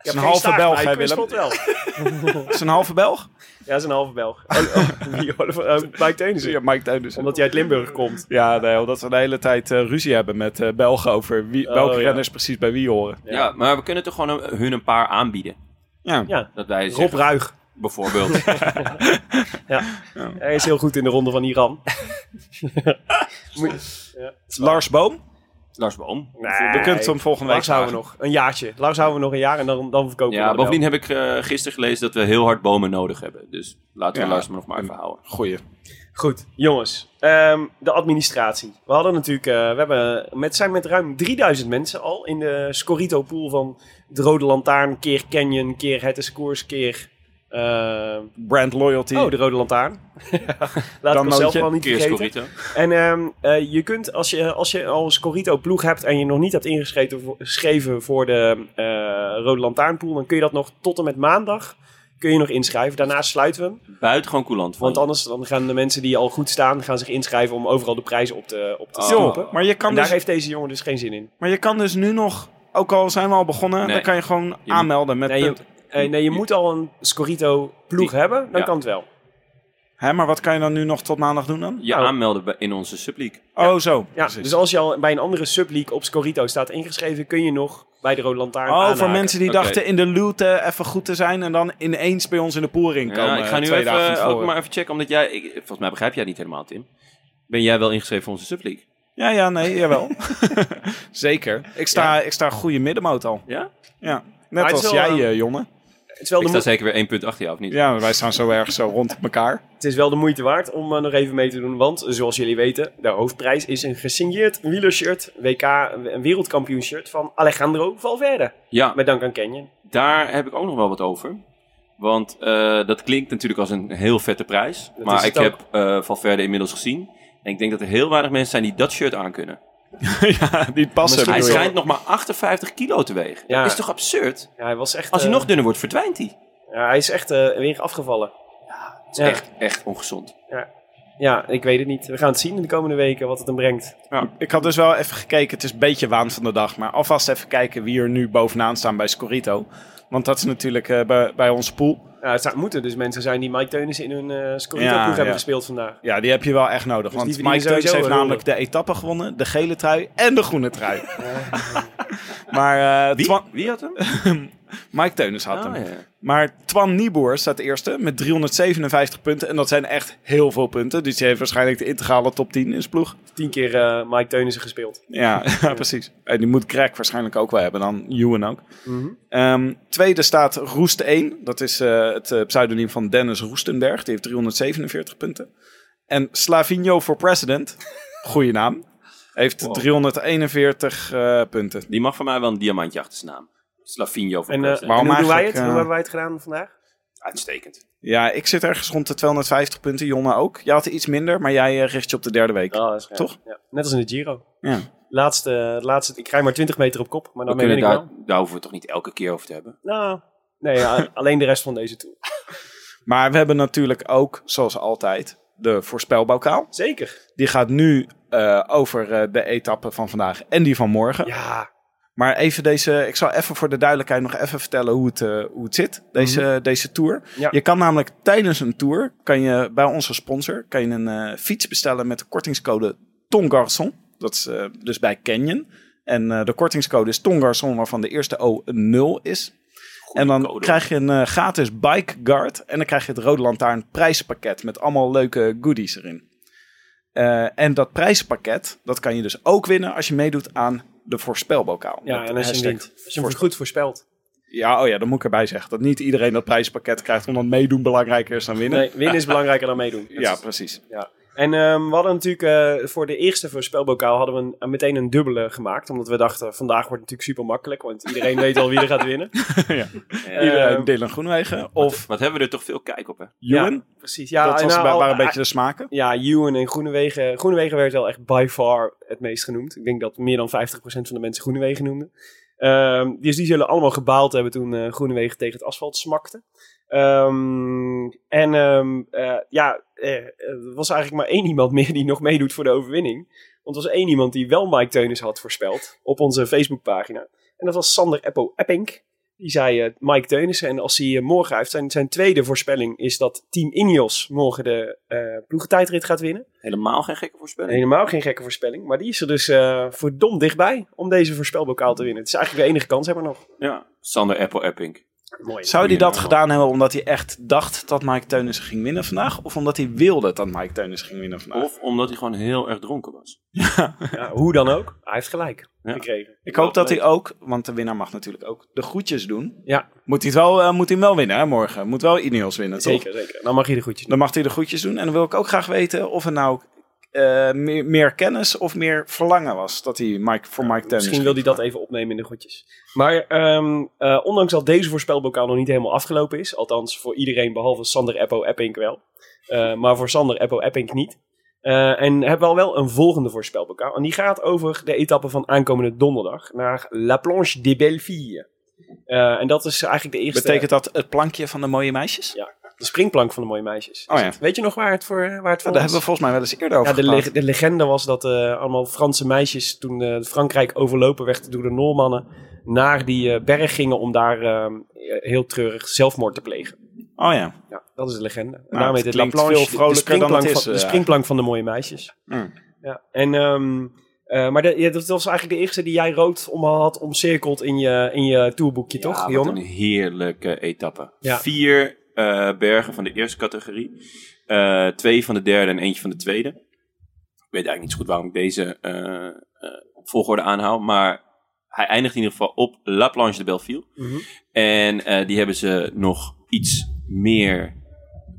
[SPEAKER 2] Ik heb
[SPEAKER 6] een
[SPEAKER 2] geen
[SPEAKER 6] halve
[SPEAKER 2] staart,
[SPEAKER 6] Belg,
[SPEAKER 2] maar ik
[SPEAKER 6] hè,
[SPEAKER 2] quiz
[SPEAKER 6] Willem?
[SPEAKER 2] pot wel.
[SPEAKER 6] Is een halve Belg?
[SPEAKER 2] Ja, dat is een halve Belg. Oh, oh, wie, Oliver, eh, Mike Teunissen.
[SPEAKER 6] Ja, Mike Teunissen.
[SPEAKER 2] Omdat hij uit Limburg komt.
[SPEAKER 6] Ja, nee, omdat we de hele tijd eh, ruzie hebben met eh, Belgen over wie, welke
[SPEAKER 2] Oh, ja.
[SPEAKER 6] renners precies bij wie horen.
[SPEAKER 1] ja. maar we kunnen toch gewoon een- hun een paar aanbieden.
[SPEAKER 6] Ja.
[SPEAKER 2] Ja.
[SPEAKER 1] Dat wij
[SPEAKER 2] Rob
[SPEAKER 1] zeggen,
[SPEAKER 2] Ruig.
[SPEAKER 1] bijvoorbeeld.
[SPEAKER 2] Hij is heel goed in de ronde van Iran.
[SPEAKER 6] Lars Boom?
[SPEAKER 1] Lars Boom.
[SPEAKER 2] Nee,
[SPEAKER 6] We kunnen hem volgende
[SPEAKER 2] Lars
[SPEAKER 6] week
[SPEAKER 2] houden
[SPEAKER 6] houden.
[SPEAKER 2] we nog. Een jaartje. Lars houden we nog een jaar en dan, dan verkopen we
[SPEAKER 1] Ja,
[SPEAKER 2] hem wel.
[SPEAKER 1] bovendien heb ik eh, gisteren gelezen dat we heel hard bomen nodig hebben. Dus laten we
[SPEAKER 6] Ja.
[SPEAKER 1] Lars maar nog maar even houden.
[SPEAKER 6] Goeie.
[SPEAKER 2] Goed, jongens. Ehm, de administratie. We hadden natuurlijk... eh, we hebben met, zijn met ruim 3000 mensen al in de Scorito-pool van de Rode Lantaarn, keer Canyon, keer Het is Koers, keer... eh,
[SPEAKER 6] Brand Loyalty.
[SPEAKER 2] oh, de Rode Lantaarn. Laat ik mezelf
[SPEAKER 6] nootje.
[SPEAKER 2] wel niet
[SPEAKER 1] Keer
[SPEAKER 2] vergeten.
[SPEAKER 1] Scorito.
[SPEAKER 2] En ehm, eh, je kunt, als je, als je al een Scorito-ploeg hebt en je nog niet hebt ingeschreven voor, geschreven voor de eh, Rode Lantaarnpool, dan kun je dat nog tot en met maandag kun je nog inschrijven. Daarna sluiten we hem,
[SPEAKER 1] Buitengewoon coulant. Van
[SPEAKER 2] want
[SPEAKER 1] je.
[SPEAKER 2] anders dan gaan de mensen die al goed staan gaan zich inschrijven om overal de prijzen op te, op te
[SPEAKER 1] Oh.
[SPEAKER 2] stoppen.
[SPEAKER 6] maar, je
[SPEAKER 2] En
[SPEAKER 6] kan
[SPEAKER 2] daar
[SPEAKER 6] dus,
[SPEAKER 2] heeft deze jongen dus geen zin in.
[SPEAKER 6] maar je kan dus nu nog, ook al zijn we al begonnen,
[SPEAKER 1] Nee.
[SPEAKER 6] dan kan je gewoon
[SPEAKER 1] moet-
[SPEAKER 6] aanmelden met
[SPEAKER 2] Nee, je,
[SPEAKER 6] punt.
[SPEAKER 2] eh, nee, je moet al een Scorito-ploeg
[SPEAKER 1] Die-
[SPEAKER 2] hebben, dan
[SPEAKER 1] ja.
[SPEAKER 2] kan het wel.
[SPEAKER 6] Hè, maar wat kan je dan nu nog tot maandag doen dan?
[SPEAKER 1] je
[SPEAKER 2] Oh.
[SPEAKER 1] aanmelden bij- in onze subliek.
[SPEAKER 6] Oh, zo.
[SPEAKER 2] Ja,
[SPEAKER 6] Precies.
[SPEAKER 2] dus als je al bij een andere subleague op Scorito staat ingeschreven, kun je nog bij de Rode Lantaarn
[SPEAKER 6] Oh, voor
[SPEAKER 2] aanhaken.
[SPEAKER 6] mensen die
[SPEAKER 1] Oké.
[SPEAKER 6] dachten in de looten even goed te zijn en dan ineens bij ons in de poolring komen. eh,
[SPEAKER 1] Ja, ik ga nu
[SPEAKER 6] twee dagen
[SPEAKER 2] eh,
[SPEAKER 6] van
[SPEAKER 1] even, eh, ook
[SPEAKER 6] tevoren.
[SPEAKER 1] maar even checken, omdat jij... Ik, volgens mij begrijp jij het niet helemaal, Tim. Ben jij wel ingeschreven voor onze subliek?
[SPEAKER 6] Ja, ja, nee, jawel. Zeker. Ik sta, ik sta goede middenmoot al.
[SPEAKER 1] Ja?
[SPEAKER 6] Ja.
[SPEAKER 2] Maar
[SPEAKER 6] Net
[SPEAKER 2] het is
[SPEAKER 6] als
[SPEAKER 2] wel,
[SPEAKER 6] jij,
[SPEAKER 2] ehm,
[SPEAKER 6] eh, Jonne.
[SPEAKER 2] Het is wel
[SPEAKER 1] Ik
[SPEAKER 2] de
[SPEAKER 1] sta
[SPEAKER 2] mo-
[SPEAKER 1] zeker weer één punt achter jou, of niet?
[SPEAKER 6] Ja, wij staan zo erg zo rond elkaar.
[SPEAKER 2] Het is wel de moeite waard om eh, nog even mee te doen, want eh, zoals jullie weten, de hoofdprijs is een gesigneerd wielershirt, WK, een wereldkampioenshirt van Alejandro Valverde.
[SPEAKER 1] Ja,
[SPEAKER 2] Met dank aan Canyon.
[SPEAKER 1] daar heb ik ook nog wel wat over. Want eh, dat klinkt natuurlijk als een heel vette prijs.
[SPEAKER 2] Dat is
[SPEAKER 1] maar
[SPEAKER 2] het
[SPEAKER 1] ik
[SPEAKER 2] ook.
[SPEAKER 1] heb eh, Valverde inmiddels gezien. En ik denk dat er heel weinig mensen zijn die dat shirt aankunnen.
[SPEAKER 6] ja, die passen.
[SPEAKER 1] Hij
[SPEAKER 6] bedoel je.
[SPEAKER 1] schijnt nog maar 58 kilo te wegen.
[SPEAKER 2] Ja.
[SPEAKER 1] Dat is toch absurd?
[SPEAKER 2] Ja, hij was echt...
[SPEAKER 1] Als hij
[SPEAKER 2] eh,
[SPEAKER 1] nog dunner wordt, verdwijnt hij.
[SPEAKER 2] ja, hij is echt eh, weer afgevallen.
[SPEAKER 1] Het is
[SPEAKER 2] Ja.
[SPEAKER 1] echt, echt ongezond.
[SPEAKER 2] Ja, ik weet het niet. We gaan het zien in de komende weken wat het hem brengt.
[SPEAKER 6] Ja, ik had dus wel even gekeken. Het is een beetje waan van de dag. Maar alvast even kijken wie er nu bovenaan staan bij Scorito. Want dat is natuurlijk eh, bij, bij onze pool.
[SPEAKER 2] Ja, het zou moeten dus mensen zijn die Mike Teunissen in hun eh Scorito-ploeg
[SPEAKER 6] Ja,
[SPEAKER 2] hebben
[SPEAKER 6] ja.
[SPEAKER 2] gespeeld vandaag.
[SPEAKER 6] Ja, die heb je wel echt
[SPEAKER 2] Dus
[SPEAKER 6] nodig.
[SPEAKER 2] die
[SPEAKER 6] want
[SPEAKER 2] verdienen
[SPEAKER 6] Mike Teuns
[SPEAKER 2] sowieso
[SPEAKER 6] heeft
[SPEAKER 2] een
[SPEAKER 6] namelijk de etappe gewonnen. De gele trui en de groene trui. maar eh, Twan-
[SPEAKER 1] Wie had hem?
[SPEAKER 6] Mike Teunis had hem.
[SPEAKER 1] Ah, ja.
[SPEAKER 6] Maar Twan Niebuhr staat eerste met 357 punten. En dat zijn echt heel veel punten. Dus die heeft waarschijnlijk de integrale top 10 in zijn ploeg.
[SPEAKER 2] Tien keer eh, Mike Teunissen gespeeld.
[SPEAKER 6] Ja, ja, precies. En die moet Crack waarschijnlijk ook wel hebben. Dan Ewan ook. Ehm, tweede staat Roest 1. Dat is eh, het eh, pseudoniem van Dennis Roestenberg. Die heeft 347 punten. En Slavinho voor president. Goeie naam. Heeft 341 eh, punten.
[SPEAKER 1] Die mag voor mij wel een diamantje achter zijn naam. Slavinho van
[SPEAKER 2] En eh,
[SPEAKER 1] President.
[SPEAKER 6] waarom
[SPEAKER 2] hoe doen wij het?
[SPEAKER 6] eigenlijk,
[SPEAKER 2] Hoe
[SPEAKER 6] eh,
[SPEAKER 2] hebben wij het gedaan vandaag?
[SPEAKER 1] Uitstekend.
[SPEAKER 6] Ja, ik zit ergens rond de 250 punten. Jonna ook. Jij had iets minder, maar jij eh, richt je op de derde week.
[SPEAKER 2] Oh, dat is raar.
[SPEAKER 6] Toch?
[SPEAKER 2] Ja. Net als in de Giro.
[SPEAKER 6] Ja.
[SPEAKER 2] Laatste, laatste, ik krijg maar 20 meter op kop,
[SPEAKER 1] We
[SPEAKER 2] maar dan ben
[SPEAKER 1] kunnen
[SPEAKER 2] ik
[SPEAKER 1] daar,
[SPEAKER 2] wel.
[SPEAKER 1] daar hoeven we het toch niet elke keer over te hebben.
[SPEAKER 2] Nou, nee, ja, alleen de rest van deze tour.
[SPEAKER 6] Maar we hebben natuurlijk ook, zoals altijd, de voorspelbokaal.
[SPEAKER 2] Zeker.
[SPEAKER 6] Die gaat nu eh, over eh, de etappe van vandaag en die van morgen.
[SPEAKER 2] Ja,
[SPEAKER 6] Maar even deze, ik zal even voor de duidelijkheid nog even vertellen hoe het, eh, hoe het zit, deze, deze tour.
[SPEAKER 2] Mhm. Ja.
[SPEAKER 6] Je kan namelijk tijdens een tour, kan je bij onze sponsor, kan je een eh, fiets bestellen met de kortingscode TONGARSON. Dat is eh, dus bij Canyon. En eh, de kortingscode is TONGARSON, waarvan de eerste O een 0 is. en dan
[SPEAKER 1] code.
[SPEAKER 6] krijg je een eh, gratis bike guard en dan krijg je het Rode Lantaarn prijzenpakket met allemaal leuke goodies erin. Eh, en dat prijzenpakket, dat kan je dus ook winnen als je meedoet aan de voorspelbokaal.
[SPEAKER 2] ja
[SPEAKER 6] Met
[SPEAKER 2] en als je hem
[SPEAKER 6] hashtag
[SPEAKER 2] wint. Als je hem goed voorspelt.
[SPEAKER 6] ja, oh ja, dan moet ik erbij zeggen dat niet iedereen dat prijspakket krijgt, omdat meedoen belangrijker is dan winnen.
[SPEAKER 2] Nee, winnen is belangrijker dan meedoen.
[SPEAKER 6] Ja, precies.
[SPEAKER 2] Ja. En ehm, we hadden natuurlijk eh, voor de eerste voorspelbokaal hadden we een- een, meteen een dubbele gemaakt. Omdat we dachten, vandaag wordt het natuurlijk super makkelijk. Want iedereen weet al wie er gaat winnen.
[SPEAKER 6] Iedereen
[SPEAKER 2] Ehm,
[SPEAKER 6] Dylan Groenwegen of
[SPEAKER 1] Wat hebben we er toch veel kijk op, hè?
[SPEAKER 6] Ewan.
[SPEAKER 2] Ja, precies. Ja,
[SPEAKER 6] dat
[SPEAKER 2] en
[SPEAKER 6] was,
[SPEAKER 2] nou,
[SPEAKER 6] wa-
[SPEAKER 2] al-
[SPEAKER 6] waren een beetje de smaken.
[SPEAKER 2] Ja, Ewan en Groenewegen. Groenewegen werd wel echt by far het meest genoemd. Ik denk dat meer dan 50% van de mensen Groenewegen noemden. Ehm, dus die zullen allemaal gebaald hebben toen eh Groenewegen tegen het asfalt smakte. Ehm, en ehm, eh, ja, eh, er was eigenlijk maar één iemand meer die nog meedoet voor de overwinning. Want er was één iemand die wel Mike Teunis had voorspeld op onze Facebookpagina. En dat was Sander Eppo Epping. Die zei eh, Mike Teunissen. En als hij eh, morgen heeft, zijn, zijn tweede voorspelling is dat Team Ineos morgen de eh ploegentijdrit gaat winnen.
[SPEAKER 1] Helemaal geen gekke voorspelling.
[SPEAKER 2] Helemaal geen gekke voorspelling. Maar die is er dus eh verdomd dichtbij om deze voorspelbokaal te winnen. Het is eigenlijk de enige kans hebben we nog.
[SPEAKER 1] Ja. Sander Apple Epping.
[SPEAKER 2] Mooi.
[SPEAKER 6] Zou hij
[SPEAKER 1] Goeie
[SPEAKER 6] dat
[SPEAKER 1] naam.
[SPEAKER 6] gedaan hebben omdat hij echt dacht dat Mike Teunissen ging winnen vandaag? Of omdat hij wilde dat Mike Teunissen ging winnen vandaag?
[SPEAKER 1] Of omdat hij gewoon heel erg dronken was.
[SPEAKER 2] Ja, hoe dan ook. Hij heeft gelijk
[SPEAKER 1] Ja.
[SPEAKER 2] gekregen.
[SPEAKER 6] ik hoop dat
[SPEAKER 2] leuk.
[SPEAKER 6] hij ook, want de winnaar mag natuurlijk ook de groetjes doen.
[SPEAKER 2] Ja.
[SPEAKER 6] Moet hij, het wel, eh, moet hij hem wel winnen hè, morgen? Moet wel Ineos winnen, toch?
[SPEAKER 2] Zeker, zeker. Dan mag je de goedjes doen.
[SPEAKER 6] Dan mag hij de groetjes doen. En dan wil ik ook graag weten of er nou eh, meer, meer kennis of meer verlangen was dat hij Mike, voor Mike Tennis
[SPEAKER 2] Misschien wil hij dat even opnemen in de goedjes. Maar ehm, eh, ondanks dat deze voorspelbokaal nog niet helemaal afgelopen is, althans voor iedereen behalve Sander Eppo Epping wel, eh, maar voor Sander Eppo Epping niet. Eh, en hebben we al wel een volgende voorspelbokaal. En die gaat over de etappe van aankomende donderdag naar La Planche de Belleville. Eh, en dat is eigenlijk de eerste
[SPEAKER 6] Betekent dat het plankje van de mooie meisjes? Nou,
[SPEAKER 2] de springplank van de mooie meisjes.
[SPEAKER 6] Oh
[SPEAKER 2] Is
[SPEAKER 6] ja.
[SPEAKER 2] het- Weet je nog waar het voor, waar het voor
[SPEAKER 6] Daar hebben
[SPEAKER 2] was?
[SPEAKER 6] we volgens mij wel eens eerder over
[SPEAKER 2] Ja, de,
[SPEAKER 6] gepraat.
[SPEAKER 2] leg- de legende was dat eh, allemaal Franse meisjes toen eh, Frankrijk overlopen werd door de Noormannen naar die eh, berg gingen om daar ehm, eh, heel treurig zelfmoord te plegen.
[SPEAKER 6] Oh ja. Nou,
[SPEAKER 2] Ja, dat is de legende. En
[SPEAKER 6] het
[SPEAKER 2] heet
[SPEAKER 6] klinkt
[SPEAKER 2] La Planche,
[SPEAKER 6] veel
[SPEAKER 2] de- de
[SPEAKER 6] vrolijker dan het
[SPEAKER 2] springplank
[SPEAKER 6] is,
[SPEAKER 2] van-
[SPEAKER 6] eh,
[SPEAKER 2] De springplank van de mooie meisjes.
[SPEAKER 6] Mm.
[SPEAKER 2] Ja, en, ehm, eh, maar de- ja, dat was eigenlijk de eerste die jij rood om had omcirkeld in je, in je tourboekje, toch,
[SPEAKER 1] wat
[SPEAKER 2] Jonne?
[SPEAKER 1] een heerlijke etappe.
[SPEAKER 2] Ja.
[SPEAKER 1] Vier eh, bergen van de eerste categorie. eh, twee van de derde en eentje van de tweede. Ik weet eigenlijk niet zo goed waarom ik deze eh, eh, op volgorde aanhoud. Maar hij eindigt in ieder geval op La Planche de Belleville.
[SPEAKER 2] Mhm.
[SPEAKER 1] En eh, die hebben ze nog iets meer,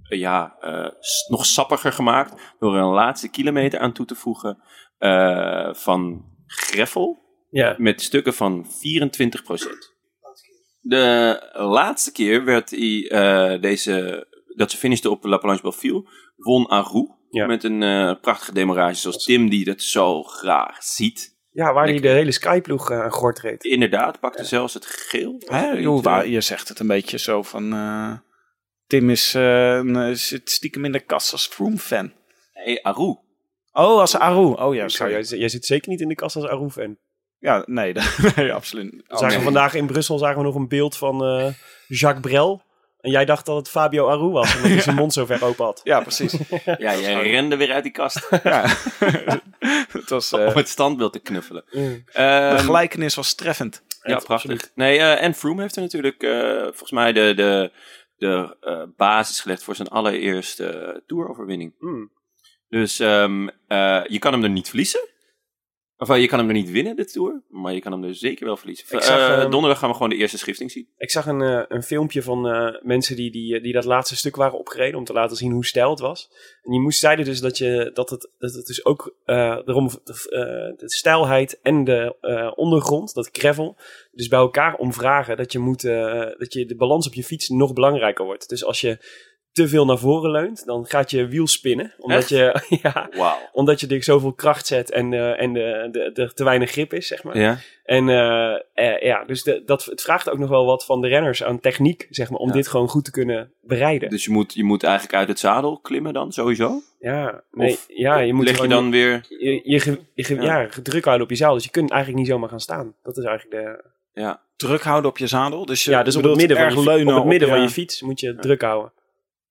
[SPEAKER 1] eh, ja, eh, s- nog sappiger gemaakt. Door er een laatste kilometer aan toe te voegen eh, van Greffel
[SPEAKER 2] Ja.
[SPEAKER 1] met stukken van 24 De laatste keer werd hij, eh, deze, dat ze finishte op La Planche Belleville, won Arou.
[SPEAKER 2] Ja.
[SPEAKER 1] Met een eh, prachtige demarrage zoals Tim die dat zo graag ziet.
[SPEAKER 2] ja, waar hij
[SPEAKER 1] Ik-
[SPEAKER 2] de hele skyploeg eh, aan gort reed.
[SPEAKER 1] Inderdaad, pakte zelfs het geel.
[SPEAKER 6] Hè,
[SPEAKER 1] Niet,
[SPEAKER 6] joh,
[SPEAKER 1] eh,
[SPEAKER 6] waar- je zegt het een beetje zo van... eh, Tim is, eh, een, eh, zit stiekem in de kast als Froome-fan.
[SPEAKER 1] Nee, Arou.
[SPEAKER 6] Oh, als Aru. Oh ja,
[SPEAKER 2] Ik zou-
[SPEAKER 6] sorry.
[SPEAKER 2] Dus, eh, jij, jij zit zeker niet in de kast als Arouf en.
[SPEAKER 6] Ja, nee, dat- Oh, nee absoluut. niet.
[SPEAKER 2] Dan zagen we vandaag in Brussel zagen we nog een beeld van eh, Jacques Brel. En jij dacht dat het Fabio Aru was, omdat hij zijn mond zo ver open had.
[SPEAKER 6] Ja, precies.
[SPEAKER 1] Ja, jij rende weer uit die kast
[SPEAKER 6] ja. het was, eh,
[SPEAKER 1] om het standbeeld te knuffelen.
[SPEAKER 2] Mm.
[SPEAKER 6] de
[SPEAKER 1] eh, Ehm,
[SPEAKER 6] gelijkenis was treffend.
[SPEAKER 1] Ja,
[SPEAKER 2] Echt,
[SPEAKER 1] prachtig.
[SPEAKER 2] absoluut.
[SPEAKER 1] Nee, eh, en Froome heeft er natuurlijk eh, volgens mij de, de, de eh, basis gelegd voor zijn allereerste eh, toeroverwinning.
[SPEAKER 2] Hmm.
[SPEAKER 1] Dus ehm, eh, je kan hem er niet verliezen. Of eh, je kan hem er niet winnen, de Tour. Maar je kan hem er zeker wel verliezen.
[SPEAKER 2] Ik
[SPEAKER 1] Eh,
[SPEAKER 2] zag, ehm,
[SPEAKER 1] donderdag gaan we gewoon de eerste schifting zien.
[SPEAKER 2] Ik zag een, eh, een filmpje van eh, mensen die, die, eh, die dat laatste stuk waren opgereden om te laten zien hoe stijl het was. En die moest zeiden dus dat, je, dat, het, dat het dus ook eh daarom de, eh, de stijlheid en de eh, ondergrond, dat gravel, dus bij elkaar omvragen dat je moet eh, dat je de balans op je fiets nog belangrijker wordt. Dus als je te veel naar voren leunt, dan gaat je wiel spinnen. Omdat
[SPEAKER 1] Echt?
[SPEAKER 2] je ja,
[SPEAKER 1] Wauw.
[SPEAKER 2] omdat je er zoveel kracht zet en, eh, en de, de, er te weinig grip is, zeg maar.
[SPEAKER 1] Ja.
[SPEAKER 2] En eh, eh, ja, dus de- dat, het vraagt ook nog wel wat van de renners aan techniek, zeg maar, om
[SPEAKER 1] Ja.
[SPEAKER 2] dit gewoon goed te kunnen bereiden.
[SPEAKER 1] Dus je moet, je moet eigenlijk uit het zadel klimmen dan, sowieso.
[SPEAKER 2] ja, nee,
[SPEAKER 1] of-
[SPEAKER 2] ja, je moet
[SPEAKER 1] Leg je
[SPEAKER 2] gewoon
[SPEAKER 1] dan weer...
[SPEAKER 2] je, je, ge- je ge-
[SPEAKER 1] Ja.
[SPEAKER 2] ja. druk houden op je zaal, dus je kunt eigenlijk niet zomaar gaan staan. Dat is eigenlijk de...
[SPEAKER 1] Ja.
[SPEAKER 6] Druk houden op je zadel. Dus je
[SPEAKER 2] Ja, dus op het
[SPEAKER 6] bedoelt
[SPEAKER 2] midden, van
[SPEAKER 6] erg
[SPEAKER 2] je, fi- op
[SPEAKER 6] leunen
[SPEAKER 2] het midden van je
[SPEAKER 6] fiets.
[SPEAKER 2] fiets moet je druk houden.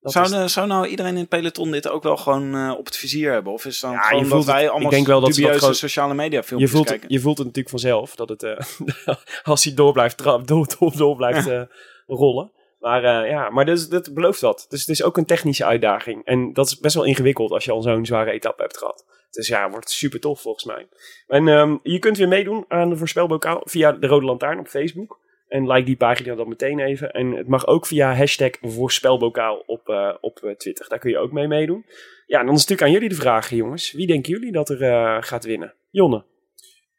[SPEAKER 2] Dat
[SPEAKER 6] Zou,
[SPEAKER 2] is-
[SPEAKER 6] eh, zou nou iedereen in het peloton dit ook wel gewoon eh, op het vizier hebben? Of is het dan
[SPEAKER 2] Ja, je
[SPEAKER 6] gewoon
[SPEAKER 2] voelt
[SPEAKER 6] dat wij
[SPEAKER 2] het-
[SPEAKER 6] allemaal
[SPEAKER 2] ik denk wel dat ze dat
[SPEAKER 6] dubieuze
[SPEAKER 2] gewoon-
[SPEAKER 6] sociale media
[SPEAKER 2] je,
[SPEAKER 6] filmpjes
[SPEAKER 2] voelt, het-
[SPEAKER 6] kijken?
[SPEAKER 2] je voelt het natuurlijk vanzelf, dat het, eh, als hij door blijft, tra- door, door, door blijft eh, rollen. Maar eh, ja, maar dus, dat belooft wat. Dus het is ook een technische uitdaging. En dat is best wel ingewikkeld als je al zo'n zware etappe hebt gehad. Dus ja, wordt super tof volgens mij. En ehm, je kunt weer meedoen aan de voorspelbokaal via de Rode Lantaarn op Facebook. En like die pagina dan meteen even. En het mag ook via hashtag voorspelbokaal op, eh, op eh, Twitter. Daar kun je ook mee meedoen. Ja, en dan is natuurlijk aan jullie de vraag, jongens. Wie denken jullie dat er eh, gaat winnen? Jonne.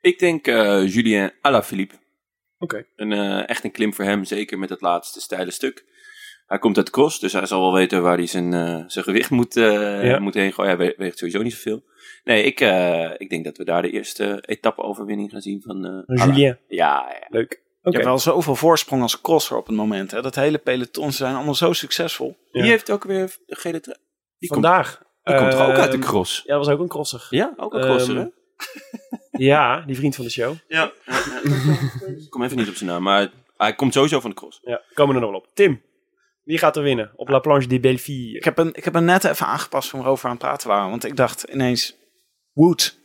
[SPEAKER 1] Ik denk eh, Julien Alaphilippe.
[SPEAKER 2] Oké.
[SPEAKER 1] Een, eh, echt een klim voor hem, zeker met dat laatste steile stuk. Hij komt uit cross, dus hij zal wel weten waar hij zijn, eh, zijn gewicht moet, eh,
[SPEAKER 2] Ja.
[SPEAKER 1] moet heen gooien. Hij we- weegt sowieso niet zoveel. Nee, ik, eh, ik denk dat we daar de eerste etappe-overwinning gaan zien van eh, Alain.
[SPEAKER 2] Julien.
[SPEAKER 1] Ja, ja.
[SPEAKER 2] Ah, Leuk. Oké.
[SPEAKER 6] Je hebt wel zoveel voorsprong als crosser op het moment. Hè? Dat hele peloton, ze zijn allemaal zo succesvol.
[SPEAKER 2] Ja.
[SPEAKER 1] Die heeft ook weer de gele trui. Die, komt,
[SPEAKER 2] Vandaag.
[SPEAKER 1] die komt toch ook uit de
[SPEAKER 2] Ehm,
[SPEAKER 1] cross?
[SPEAKER 2] Ja, dat was ook een crosser.
[SPEAKER 1] Ja, ook een crosser,
[SPEAKER 2] ehm,
[SPEAKER 1] hè?
[SPEAKER 2] Ja, die vriend van de show.
[SPEAKER 1] Ja. Ik kom even niet op zijn naam, maar hij komt sowieso van de cross.
[SPEAKER 2] Ja, komen er nog wel op. Tim, wie gaat er winnen op La Planche des
[SPEAKER 6] Ik
[SPEAKER 2] Belleville?
[SPEAKER 6] heb, een, ik heb hem net even aangepast om erover aan het praten waren. Want ik dacht ineens, Wood.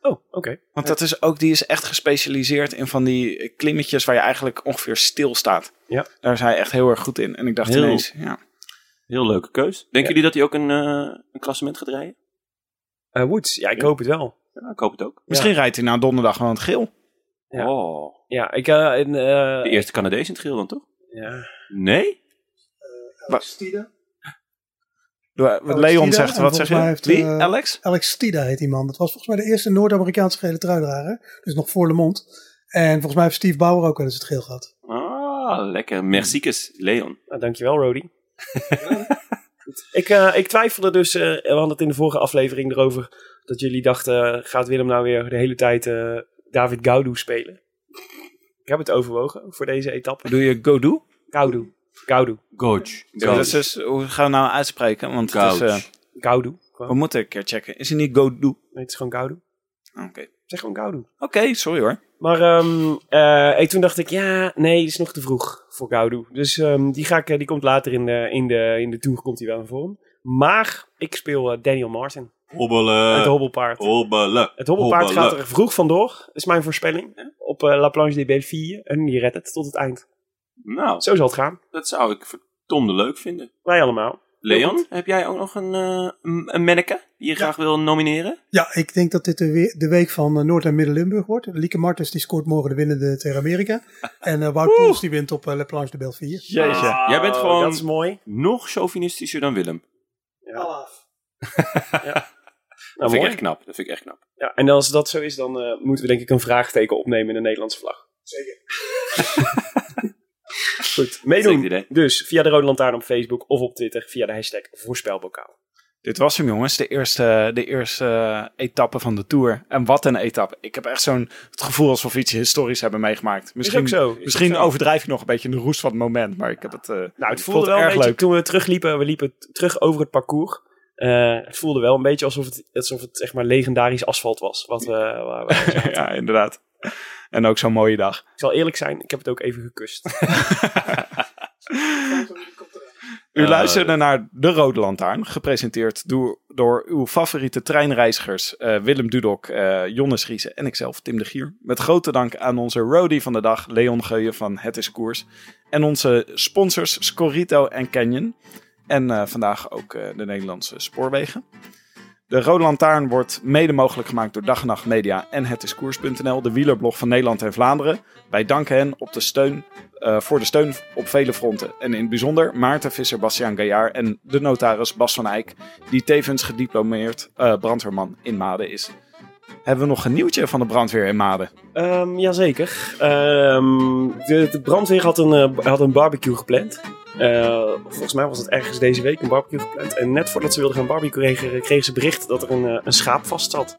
[SPEAKER 2] Oh, oké.
[SPEAKER 6] Want dat is ook, die is echt gespecialiseerd in van die eh, klimmetjes waar je eigenlijk ongeveer stilstaat.
[SPEAKER 2] Ja.
[SPEAKER 6] Daar is hij echt heel erg goed in. En ik dacht
[SPEAKER 1] Heel-
[SPEAKER 6] ineens, ja.
[SPEAKER 1] Heel leuke keus. Denken
[SPEAKER 2] Ja.
[SPEAKER 1] jullie dat hij ook een, eh, een klassement gaat rijden?
[SPEAKER 2] Eh, Woods, ja, ik hoop het wel.
[SPEAKER 1] Ja, ik hoop het ook.
[SPEAKER 6] Misschien rijdt hij na donderdag gewoon het geel.
[SPEAKER 2] Ja.
[SPEAKER 1] Oh.
[SPEAKER 2] Ja, ik... eh, en, eh,
[SPEAKER 1] De eerste Canadees in het geel dan, toch?
[SPEAKER 2] ja.
[SPEAKER 1] Nee?
[SPEAKER 6] Wat
[SPEAKER 7] Alex
[SPEAKER 6] Leon
[SPEAKER 7] Tida,
[SPEAKER 6] zegt,
[SPEAKER 7] en
[SPEAKER 6] wat
[SPEAKER 7] volgens mij
[SPEAKER 6] zeg je?
[SPEAKER 7] heeft,
[SPEAKER 6] Wie,
[SPEAKER 7] eh,
[SPEAKER 6] Alex?
[SPEAKER 7] Alex Tida heet die man. Dat was volgens mij de eerste Noord-Amerikaanse gele truidrager. Dus nog voor Le Monde. En volgens mij heeft Steve Bauer ook wel eens het geel gehad.
[SPEAKER 1] Ah, lekker. Mercikes, Leon.
[SPEAKER 2] Nou, dankjewel, Rody. Goed. ik, eh, ik twijfelde dus, eh, we hadden het in de vorige aflevering erover, dat jullie dachten, gaat Willem nou weer de hele tijd eh, David Gaudu spelen? Ik heb het overwogen voor deze etappe.
[SPEAKER 6] Doe je go do?
[SPEAKER 2] Gaudu. Gaudu.
[SPEAKER 1] Goach.
[SPEAKER 6] Ja, dat is dus, hoe gaan we nou uitspreken? Want het is,
[SPEAKER 1] Gouch.
[SPEAKER 6] eh,
[SPEAKER 2] Gaudu.
[SPEAKER 6] we moeten een keer checken. Is hij niet go do?
[SPEAKER 2] Nee, het is gewoon Gaudu.
[SPEAKER 6] Oké,
[SPEAKER 2] Zeg gewoon Gaudu.
[SPEAKER 6] Oké, sorry hoor.
[SPEAKER 2] Maar ehm, eh, ik- toen dacht ik, ja, nee, het is nog te vroeg voor Gaudu. Dus ehm, die, ga ik, eh, die komt later in de, in de, in de tour komt hij wel in vorm. Maar ik speel eh, Daniel Martin, het
[SPEAKER 1] Hobbelen.
[SPEAKER 2] hobbelpaard.
[SPEAKER 1] Hobbelen.
[SPEAKER 2] het hobbelpaard
[SPEAKER 1] hobbelen.
[SPEAKER 2] gaat er vroeg vandoor, is mijn voorspelling, op eh, La Planche des Belles Filles. En die redt het tot het eind.
[SPEAKER 1] Nou,
[SPEAKER 2] Zo zal het gaan.
[SPEAKER 1] dat zou ik verdomde leuk vinden.
[SPEAKER 2] Wij allemaal.
[SPEAKER 1] Leon, heb jij ook nog een, eh, een een manneke die je graag wil nomineren?
[SPEAKER 7] Ja, ik denk dat dit de, we- de week van eh, Noord- en Midden-Limburg wordt. Lieke Martens die scoort morgen de winnende tegen Amerika. En eh, Wout Poels die wint op eh, La Planche de Belleville.
[SPEAKER 6] Jeetje.
[SPEAKER 1] Jij bent gewoon-
[SPEAKER 2] Oh, Dat is mooi.
[SPEAKER 1] Nog chauvinistischer dan Willem.
[SPEAKER 2] Nou,
[SPEAKER 1] Dat vind ik
[SPEAKER 2] mooi.
[SPEAKER 1] echt knap. Dat vind ik echt knap.
[SPEAKER 2] Ja, en als dat zo is, dan eh, moeten we denk ik een vraagteken opnemen in de Nederlandse vlag. Zeker. Goed,
[SPEAKER 1] Zeker
[SPEAKER 2] meedoen.
[SPEAKER 1] idee.
[SPEAKER 2] Dus via de Rode Lantaarn op Facebook of op Twitter via de hashtag voorspelbokaal.
[SPEAKER 6] Dit was hem, jongens. De eerste, de eerste eh, etappe van de Tour. En wat een etappe. Ik heb echt zo'n het gevoel alsof we iets historisch hebben meegemaakt. Misschien,
[SPEAKER 2] ook zo. Is
[SPEAKER 6] misschien
[SPEAKER 2] ook zo.
[SPEAKER 6] overdrijf ik nog een beetje de roest van het moment. Maar ik heb het, eh,
[SPEAKER 2] Nou, het
[SPEAKER 6] ik
[SPEAKER 2] voelde
[SPEAKER 6] vond
[SPEAKER 2] wel
[SPEAKER 6] het
[SPEAKER 2] een
[SPEAKER 6] erg
[SPEAKER 2] beetje,
[SPEAKER 6] leuk.
[SPEAKER 2] toen we terugliepen, we liepen t- terug over het parcours. eh, het voelde wel een beetje alsof het, alsof het zeg maar legendarisch asfalt was. Wat, we- waar we-
[SPEAKER 6] ja, inderdaad. En ook zo'n mooie dag.
[SPEAKER 2] ik zal eerlijk zijn, ik heb het ook even gekust.
[SPEAKER 6] U luisterde naar De Rode Lantaarn, gepresenteerd door, door uw favoriete treinreizigers eh, Willem Dudok, eh Jonne Schriese en ikzelf, Tim de Gier. Met grote dank aan onze roadie van de dag, Leon Geuyen van Het is Koers. En onze sponsors Scorito en Canyon. En eh, vandaag ook eh, de Nederlandse Spoorwegen. De Rode Lantaarn wordt mede mogelijk gemaakt door Dag en Nacht Media en Het is Koers.nl, de wielerblog van Nederland en Vlaanderen. Wij danken hen op de steun, eh, voor de steun op vele fronten. En in het bijzonder Maarten Visser, Bastiaan Gaillard en de notaris Bas van Eyck, die tevens gediplomeerd eh, brandweerman in Maden is. Hebben we nog een nieuwtje van de brandweer in Maden?
[SPEAKER 2] Ehm, jazeker. Ehm, de, de brandweer had een, eh, had een barbecue gepland. Eh, volgens mij was het ergens deze week een barbecue gepland. En net voordat ze wilden gaan barbecue, kregen, kregen ze bericht dat er een, eh, een schaap vast zat.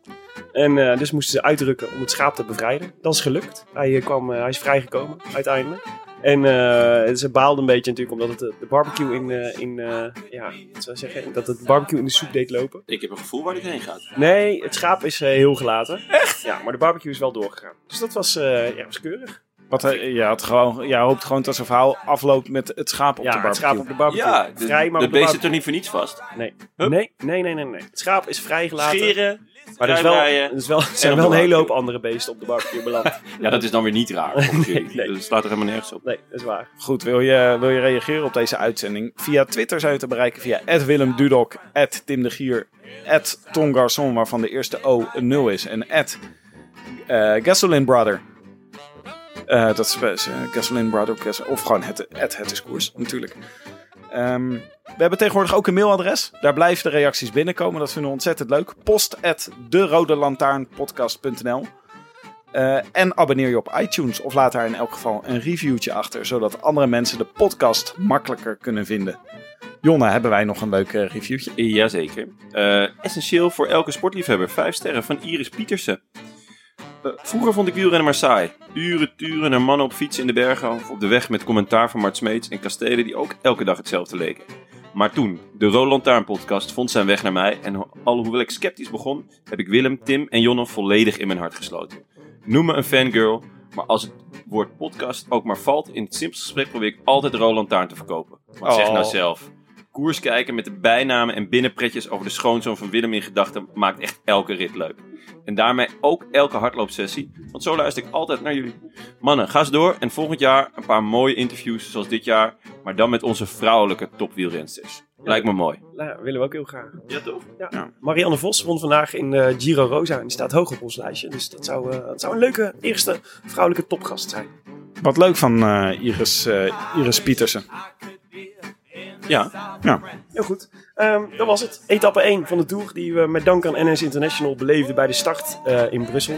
[SPEAKER 2] En eh, dus moesten ze uitrukken om het schaap te bevrijden. Dat is gelukt. Hij, eh, kwam, eh, hij is vrijgekomen, uiteindelijk. En eh, ze baalden een beetje natuurlijk omdat het eh, de barbecue in, eh, in eh, ja, wat zou ik zeggen, dat het barbecue in de soep deed lopen.
[SPEAKER 1] Ik heb een gevoel waar dit heen gaat.
[SPEAKER 2] Nee, het schaap is eh, heel gelaten. Echt? Ja, maar de barbecue is wel doorgegaan. Dus dat was, eh, ja, was keurig.
[SPEAKER 6] Wat, eh, je, had gewoon, je hoopt gewoon dat zijn verhaal afloopt met het schaap op
[SPEAKER 2] ja,
[SPEAKER 6] de
[SPEAKER 2] het
[SPEAKER 6] barbecue.
[SPEAKER 2] schaap op de barbecue.
[SPEAKER 1] Ja, de,
[SPEAKER 2] vrij, maar
[SPEAKER 1] de
[SPEAKER 2] op de
[SPEAKER 1] beest zit er
[SPEAKER 2] barbecue.
[SPEAKER 1] niet voor niets vast.
[SPEAKER 2] Nee.
[SPEAKER 1] Hup.
[SPEAKER 2] nee, nee, nee, nee, nee. Het schaap is vrijgelaten.
[SPEAKER 1] Scheren,
[SPEAKER 2] maar er, is wel,
[SPEAKER 1] kruidraaien
[SPEAKER 2] er, is wel, er
[SPEAKER 1] op
[SPEAKER 2] zijn
[SPEAKER 1] de
[SPEAKER 2] wel een hele
[SPEAKER 1] barbecue.
[SPEAKER 2] hoop andere beesten op de barbecue beland.
[SPEAKER 1] Ja, dat is dan weer niet raar. volgens jullie.
[SPEAKER 2] nee.
[SPEAKER 1] Dat staat er helemaal nergens op.
[SPEAKER 2] Nee, dat is waar.
[SPEAKER 6] Goed, wil je, wil je reageren op deze uitzending? Via Twitter zijn we te bereiken via Willem Dudok, Tim de Gier, Tom Garçon, waarvan de eerste O een 0 is, en eh Gasolin Brother. Eh, dat is best, eh, Gasolin Brother, Gas- of gewoon het, het, het is koers, natuurlijk. Ehm, we hebben tegenwoordig ook een mailadres. Daar blijven de reacties binnenkomen. Dat vinden we ontzettend leuk. Post at derodelantaarnpodcast.nl eh, en abonneer je op iTunes of laat daar in elk geval een reviewtje achter, zodat andere mensen de podcast makkelijker kunnen vinden. Jonne, hebben wij nog een leuk eh, reviewtje?
[SPEAKER 1] Jazeker. Eh, essentieel voor elke sportliefhebber. Vijf sterren van Iris Pietersen. Eh, vroeger vond ik wielrennen maar saai. Uren, turen naar mannen op fietsen in de bergen of op de weg met commentaar van Mart Smeets en kastelen die ook elke dag hetzelfde leken. Maar toen, de Roland Taarn podcast vond zijn weg naar mij en ho- alhoewel ik sceptisch begon, heb ik Willem, Tim en Jonne volledig in mijn hart gesloten. Noem me een fangirl, maar als het woord podcast ook maar valt in het simpelste gesprek probeer ik altijd Roland Taarn te verkopen. Want zeg nou
[SPEAKER 6] Oh.
[SPEAKER 1] zelf, koers kijken met de bijnamen en binnenpretjes over de schoonzoon van Willem in gedachten maakt echt elke rit leuk. En daarmee ook elke hardloopsessie, want zo luister ik altijd naar jullie. Mannen, ga eens door en volgend jaar een paar mooie interviews zoals dit jaar, maar dan met onze vrouwelijke topwielrensters. Lijkt me mooi.
[SPEAKER 2] Nou, willen we ook heel graag.
[SPEAKER 1] Ja toch?
[SPEAKER 2] Ja. Marianne Vos won vandaag in eh, Giro Rosa en die staat hoog op ons lijstje. Dus dat zou, eh, dat zou een leuke eerste vrouwelijke topgast zijn.
[SPEAKER 6] Wat leuk van eh, Iris, eh, Iris Pietersen.
[SPEAKER 1] Ja.
[SPEAKER 2] Heel goed. Ehm, dat was het. Etappe 1 van de Tour die we met dank aan NS International beleefden bij de start eh, in Brussel.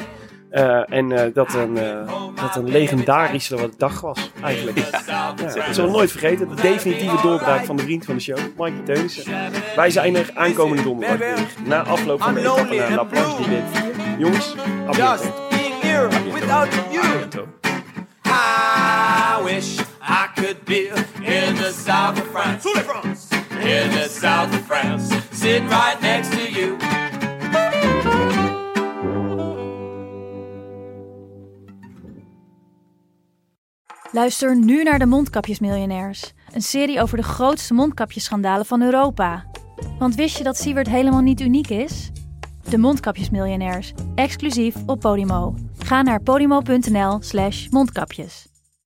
[SPEAKER 2] Eh, en eh, dat, een, eh, dat een legendarische dag was, eigenlijk. Ja, dat zullen we nooit vergeten. De definitieve doorbraak van de vriend van de show, Mike Teunissen. Wij zijn er aankomende donderdag weer. Na afloop van de etappe naar La Planche die wint. Jongens, abonneer.
[SPEAKER 5] Just being here without you. I wish I could be in the south of France. In the south of France. Sitting right next to you.
[SPEAKER 8] Luister nu naar de Mondkapjesmiljonairs. Een serie over de grootste mondkapjesschandalen van Europa. Want wist je dat Siewert helemaal niet uniek is? De Mondkapjesmiljonairs, exclusief op Podimo. Ga naar podimo.nl slash mondkapjes.